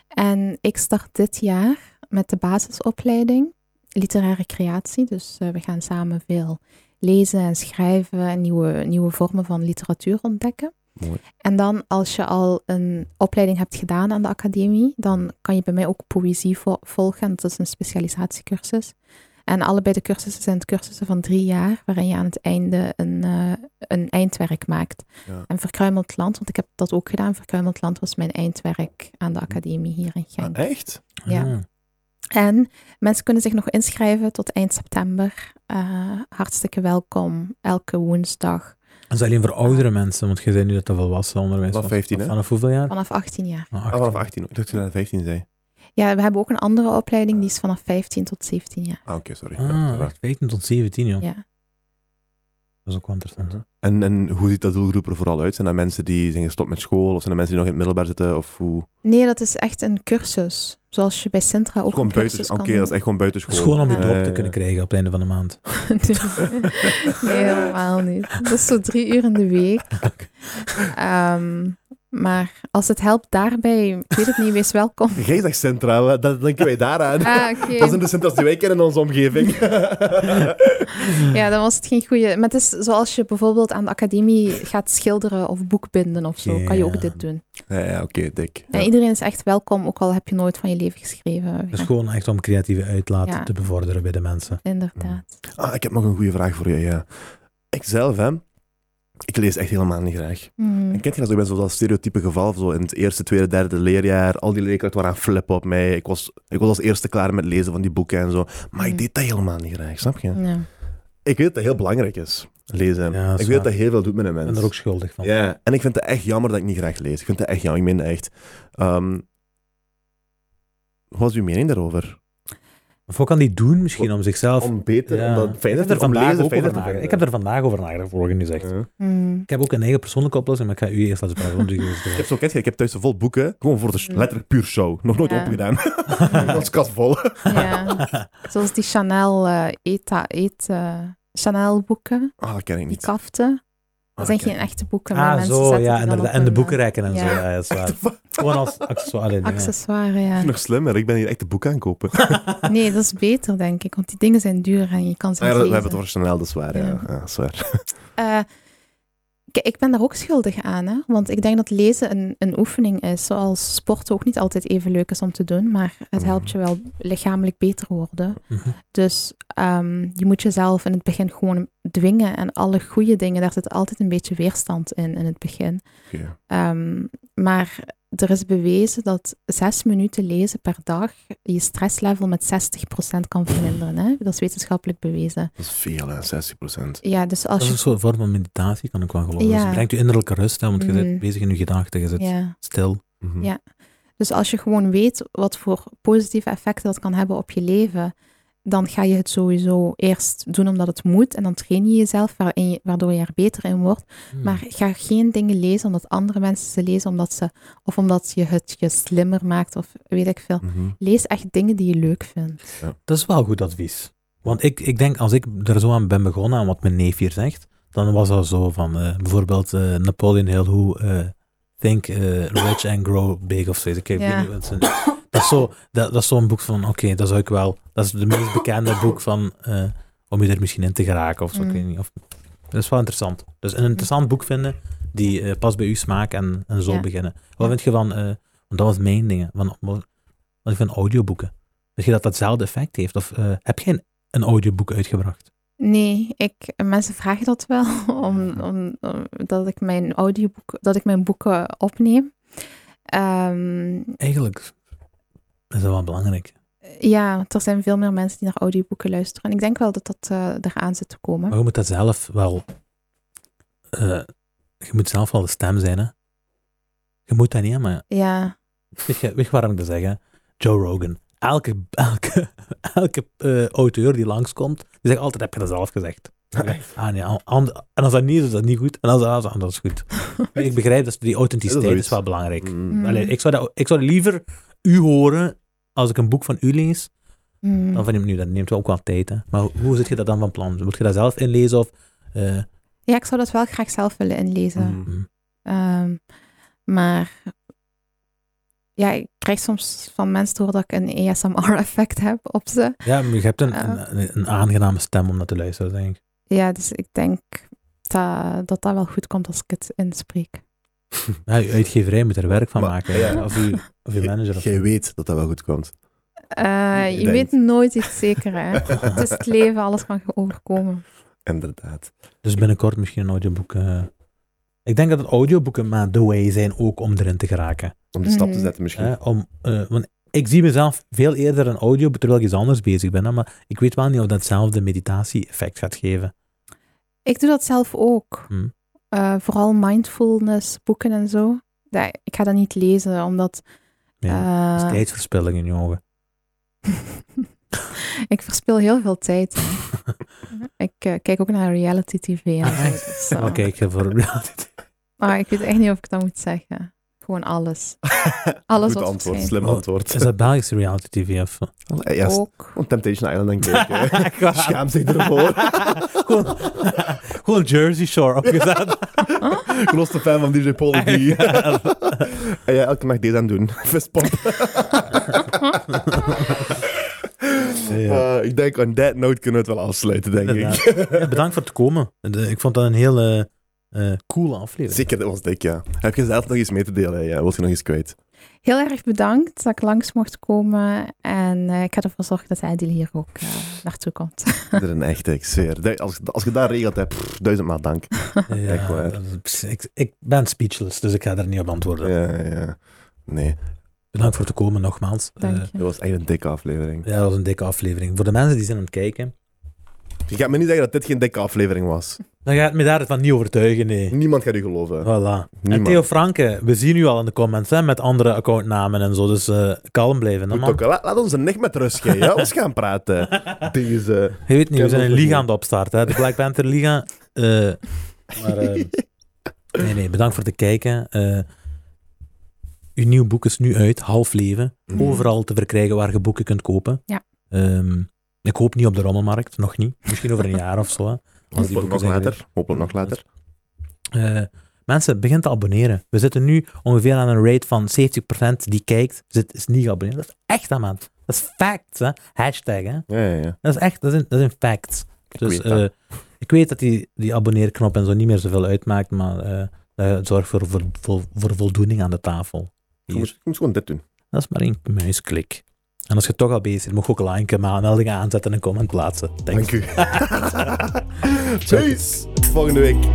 En ik start dit jaar met de basisopleiding literaire creatie. Dus eh, we gaan samen veel lezen en schrijven en nieuwe, nieuwe vormen van literatuur ontdekken. Mooi. En dan als je al een opleiding hebt gedaan aan de academie, dan kan je bij mij ook poëzie vo- volgen. Dat is een specialisatiecursus. En allebei de cursussen zijn cursussen van drie jaar, waarin je aan het einde een, eh, een eindwerk maakt. Ja. En Verkruimeld Land, want ik heb dat ook gedaan, Verkruimeld Land was mijn eindwerk aan de academie hier in Genk. Ah, echt? ja. Ah. En mensen kunnen zich nog inschrijven tot eind september. Eh, hartstikke welkom, elke woensdag Dat is alleen voor oudere mensen, want je zei nu dat dat volwassen onderwijs Vanaf was. 15, hè? Vanaf hoeveel jaar? vanaf 18 jaar. Ah, Ah, 18. vanaf 18. Ik dacht dat je naar 15 zei. Ja, we hebben ook een andere opleiding, die is vanaf 15 tot 17 jaar. Ah, oké, sorry. Ja, Ah, voilà. echt 15 tot 17, joh. Ja. Dat is ook wel interessant. en, en hoe ziet dat doelgroep er vooral uit? Zijn dat mensen die zijn gestopt met school? Of zijn dat mensen die nog in het middelbaar zitten? Of hoe? Nee, dat is echt een cursus. Zoals je bij Sintra ook Gewoon een cursus buiten. kan Oké, dat is echt gewoon Het buitenschool. is gewoon om je Ja. dorp Eh, te kunnen krijgen op het einde van de maand. doen. nee, helemaal niet. Dat is zo drie uur in de week. Ehm, maar als het helpt daarbij, ik weet het niet, wees welkom. Jij zegt centraal, dat denken wij daaraan. Ah, oké. Dat dus- zijn de centra's die wij kennen in onze omgeving. Ja, dan was het geen goede. Maar het is zoals je bijvoorbeeld aan de academie gaat schilderen of boekbinden of zo, kan je ook Ja. dit doen. ja, ja, oké, dik. En Ja. iedereen is echt welkom, ook al heb je nooit van je leven geschreven. Dat is Ja, gewoon echt om creatieve uitlaat Ja. te bevorderen bij de mensen. inderdaad. Ah, ik heb nog een goede vraag voor je, ja. Ikzelf, hè. Ik lees echt helemaal niet graag. Mm. En kent je dat zo? Ik ben zo dat stereotype geval, zo in het eerste, tweede, derde leerjaar. Al die leerkrachten waren aan flippen op mij. Ik was, ik was als eerste klaar met lezen van die boeken en zo. Maar Mm. ik deed dat helemaal niet graag, snap je? Ja. Ik weet dat dat heel belangrijk is, lezen. Ja, dat ik is weet dat waar. dat heel veel doet met een Ik mens. ben er ook schuldig van. Ja, en ik vind het echt jammer dat ik niet graag lees. Ik vind het echt jammer, ik meen dat echt. Ehm, wat is uw mening daarover? Of wat kan die doen misschien om zichzelf... Om beter, Ja. om dat fijner ik heb er te om vandaag lezen, ook fijner te over nagedacht. vinden. Ik heb er vandaag over nagedacht, vorige nu zegt. Ja. Mm. Ik heb ook een eigen persoonlijke oplossing, maar ik ga u eerst laten praten. Want u is Ik de... heb zo kent je, ik heb thuis een vol boeken, gewoon voor de Mm. letterlijk puur show. Nog nooit Ja. opgedaan. Ons kast vol. ja. Zoals die Chanel eh, eta, eet, eh, Chanel boeken, Ah, dat ken ik die niet. kaften. Dat zijn Oké. geen echte boeken, maar Ah, mensen zo, ja, zetten die dan inderdaad. op En de hun, eh, boekenrekken en ja. zo. Ja, dat is waar. Gewoon als accessoire. dingen. Accessoire, ja. Nog slimmer, ik ben hier echt een boek aan kopen. Nee, dat is beter, denk ik. Want die dingen zijn duur en je kan ze Ah, ja, niet we hebben lezen. het over Chanel, dat is waar. Ja. Ja. Ja, dat is waar. Eh, kijk, ik ben daar ook schuldig aan, hè? want ik denk dat lezen een, een oefening is, zoals sporten ook niet altijd even leuk is om te doen, maar het Mhm. helpt je wel lichamelijk beter worden. Mhm. Dus ehm, je moet jezelf in het begin gewoon dwingen en alle goede dingen, daar zit altijd een beetje weerstand in in het begin. Oké. Ehm, maar er is bewezen dat zes minuten lezen per dag je stresslevel met 60% kan verminderen. Hè? Dat is wetenschappelijk bewezen. Dat is veel, hè, 60 procent. Ja, dus Dat als is je een soort vorm van meditatie, kan ik wel geloven. Ja. Dus het brengt je innerlijke rust, hè, want je Mhm. bent bezig in je gedachten, je zit ja. stil. Mhm. Ja. Dus als je gewoon weet wat voor positieve effecten dat kan hebben op je leven, dan ga je het sowieso eerst doen omdat het moet. En dan train je jezelf, waarin je- waardoor je er beter in wordt. Hmm. Maar ga geen dingen lezen omdat andere mensen ze lezen, omdat ze, of omdat je het je slimmer maakt, of weet ik veel. Mhm. Lees echt dingen die je leuk vindt. Dat is wel goed advies. Want ik, ik denk, als ik er zo aan ben begonnen, aan wat mijn neef hier zegt, dan was dat zo van, eh, bijvoorbeeld eh, Napoleon Hill, hoe eh, think eh, rich and grow big of zoiets. Ik weet Ja. niet wat zijn- Dat is zo- dat- dat is zo'n boek van, oké, dat zou ik wel, dat is de meest bekende boek van, eh, om je er misschien in te geraken of zo, ik Mm. weet niet. Of, dat is wel interessant. Dus een interessant boek vinden die eh, past bij uw smaak en, en zo Ja. beginnen. Wat vind je van, eh, want dat was mijn ding, van, wat ik van audioboeken. Weet je dat datzelfde effect heeft? Of eh, heb jij een, een audioboek uitgebracht? Nee, ik, mensen vragen dat wel, om, om, om- dat ik mijn audioboek, dat ik mijn boeken opneem. Ehm, Eigenlijk is dat wel belangrijk. Hm? Ja, er zijn veel meer mensen die naar audioboeken luisteren. En ik denk wel dat dat eh, eraan zit te komen. Maar je moet dat zelf wel... eh, je moet zelf wel de stem zijn, hè? Je moet dat niet, hè, maar Ja, weet je, weet je waarom ik dat zeg, hè? Joe Rogan. Elke, elke, elke eh, auteur die langskomt, die zegt altijd, heb je dat zelf gezegd? Ah, nee, an- an- en als dat niet is, is dat niet goed. En als dat is, dan is dat goed. ik begrijp dat die authenticiteit zoiets. is wel belangrijk. Mm. Allee, ik, zou dat, ik zou liever u horen als ik een boek van u lees, Mm. dan van hem nu. Dat neemt wel ook wel tijd. Hè. Maar hoe- hoe zit je dat dan van plan? Moet je dat zelf inlezen? Of, eh, ja, ik zou dat wel graag zelf willen inlezen. Mhm. mm, Ehm, maar ja, ik krijg soms van mensen te horen dat ik een ASMR-effect heb op ze. ja, maar je hebt een, Ja. een, een aangename stem om naar te luisteren, denk ik. Ja, dus ik denk dat dat, dat wel goed komt als ik het inspreek. Ja, je uitgeverij moet er werk van Maar- maken. ja. Of, je, of je manager. Of, Jij weet dat dat wel goed komt. Eh, Ik je denk- weet nooit iets zeker, hè. het is het leven, alles kan je overkomen. Inderdaad. dus binnenkort misschien een audioboek. eh. ik denk dat het audioboeken maar the way zijn ook om erin te geraken. Om de stap te Mhm. zetten misschien. Hè, om, eh, want ik zie mezelf veel eerder een audio terwijl ik iets anders bezig ben. hè, maar ik weet wel niet of dat hetzelfde meditatie-effect gaat geven. Ik doe dat zelf ook. Hm. Eh, vooral mindfulness boeken en zo. Ja, ik ga dat niet lezen, omdat Ja. Dat is eh, tijdverspilling in je ogen. ik verspil heel veel tijd. ik eh, kijk ook naar reality tv. en Ah, zo, echt? dus, eh, Oké, ik heb voor Maar ik weet echt niet of ik dat moet zeggen. Gewoon alles. Alles goed wat antwoord, verschijnt. slim Oh, antwoord. Is dat Belgische reality tv of... Allee, ja, Ook. want Temptation Island denk ik. hè. Gewoon- Schaam zich ervoor. gewoon, gewoon Jersey Shore opgezet. Grootste fan van DJ Paul D. En jij elke nacht deze aan doen. Fistpomp. Ja. Eh, ik denk, on that note kunnen we het wel afsluiten, denk ik. Inderdaad. Ja, bedankt voor het komen. De- Ik vond dat een hele eh, coole aflevering. Zeker, dat was dik, ja. Heb je zelf nog iets mee te delen? Ja, wil je nog iets kwijt? Heel erg bedankt dat ik langs mocht komen. En eh, ik ga ervoor zorgen dat Adil hier ook eh, naartoe komt. Dat is een echte, ik zweer. Du- Als, als je dat regelt, hè, pff, duizendmaal dank. Ja, Echt waar. dat is- pss, ik, ik ben speechless, dus ik ga daar niet op antwoorden. Ja, ja. Nee, Bedankt voor het komen, nogmaals. Dank Eh, dat je. was echt een dikke aflevering. ja, dat was een dikke aflevering. Voor de mensen die zijn aan het kijken, Je gaat me niet zeggen dat dit geen dikke aflevering was. dan gaat me daar van niet overtuigen, nee. Niemand gaat u geloven. Voilà. En Niemand. Theo Franke, we zien u al in de comments hè, met andere accountnamen en zo, dus eh, kalm blijven. Hè, Moet man. ook- laat, laat ons er niet met rust geven. Ja? Ons gaan praten. Deze. Je weet niet, we Ken zijn een ons nog liga niet. aan de opstart, hè? de Black Panther Liga. Eh, maar eh, nee, nee, bedankt voor het kijken. Eh, uw nieuw boek is nu uit, Half Leven. Mhm. Overal te verkrijgen waar je boeken kunt kopen. Ja. Ehm, ik hoop niet op de rommelmarkt, nog niet. Misschien over een jaar of zo. hè. Als die Hopelijk boeken nog zijn later. Hopelijk nog later. eh, mensen, begin te abonneren. We zitten nu ongeveer aan een rate van 70% die kijkt, zit, is niet geabonneerd. Dat is echt aan, man. Dat is fact, hè. Hashtag, hè. Ja, ja, ja. Dat is echt, dat zijn, dat zijn facts. Dus weet dat. eh, ik weet dat die, die abonneerknop en zo niet meer zoveel uitmaakt, maar eh dat zorgt voor, voor, voor, voor voldoening aan de tafel. Je Hier. moet, je moet gewoon dit doen. Dat is maar één muisklik. En als je toch al bezig bent, mag je ook liken, maar meldingen aanzetten en een comment plaatsen. Thanks. Dank u. Peace. Volgende week.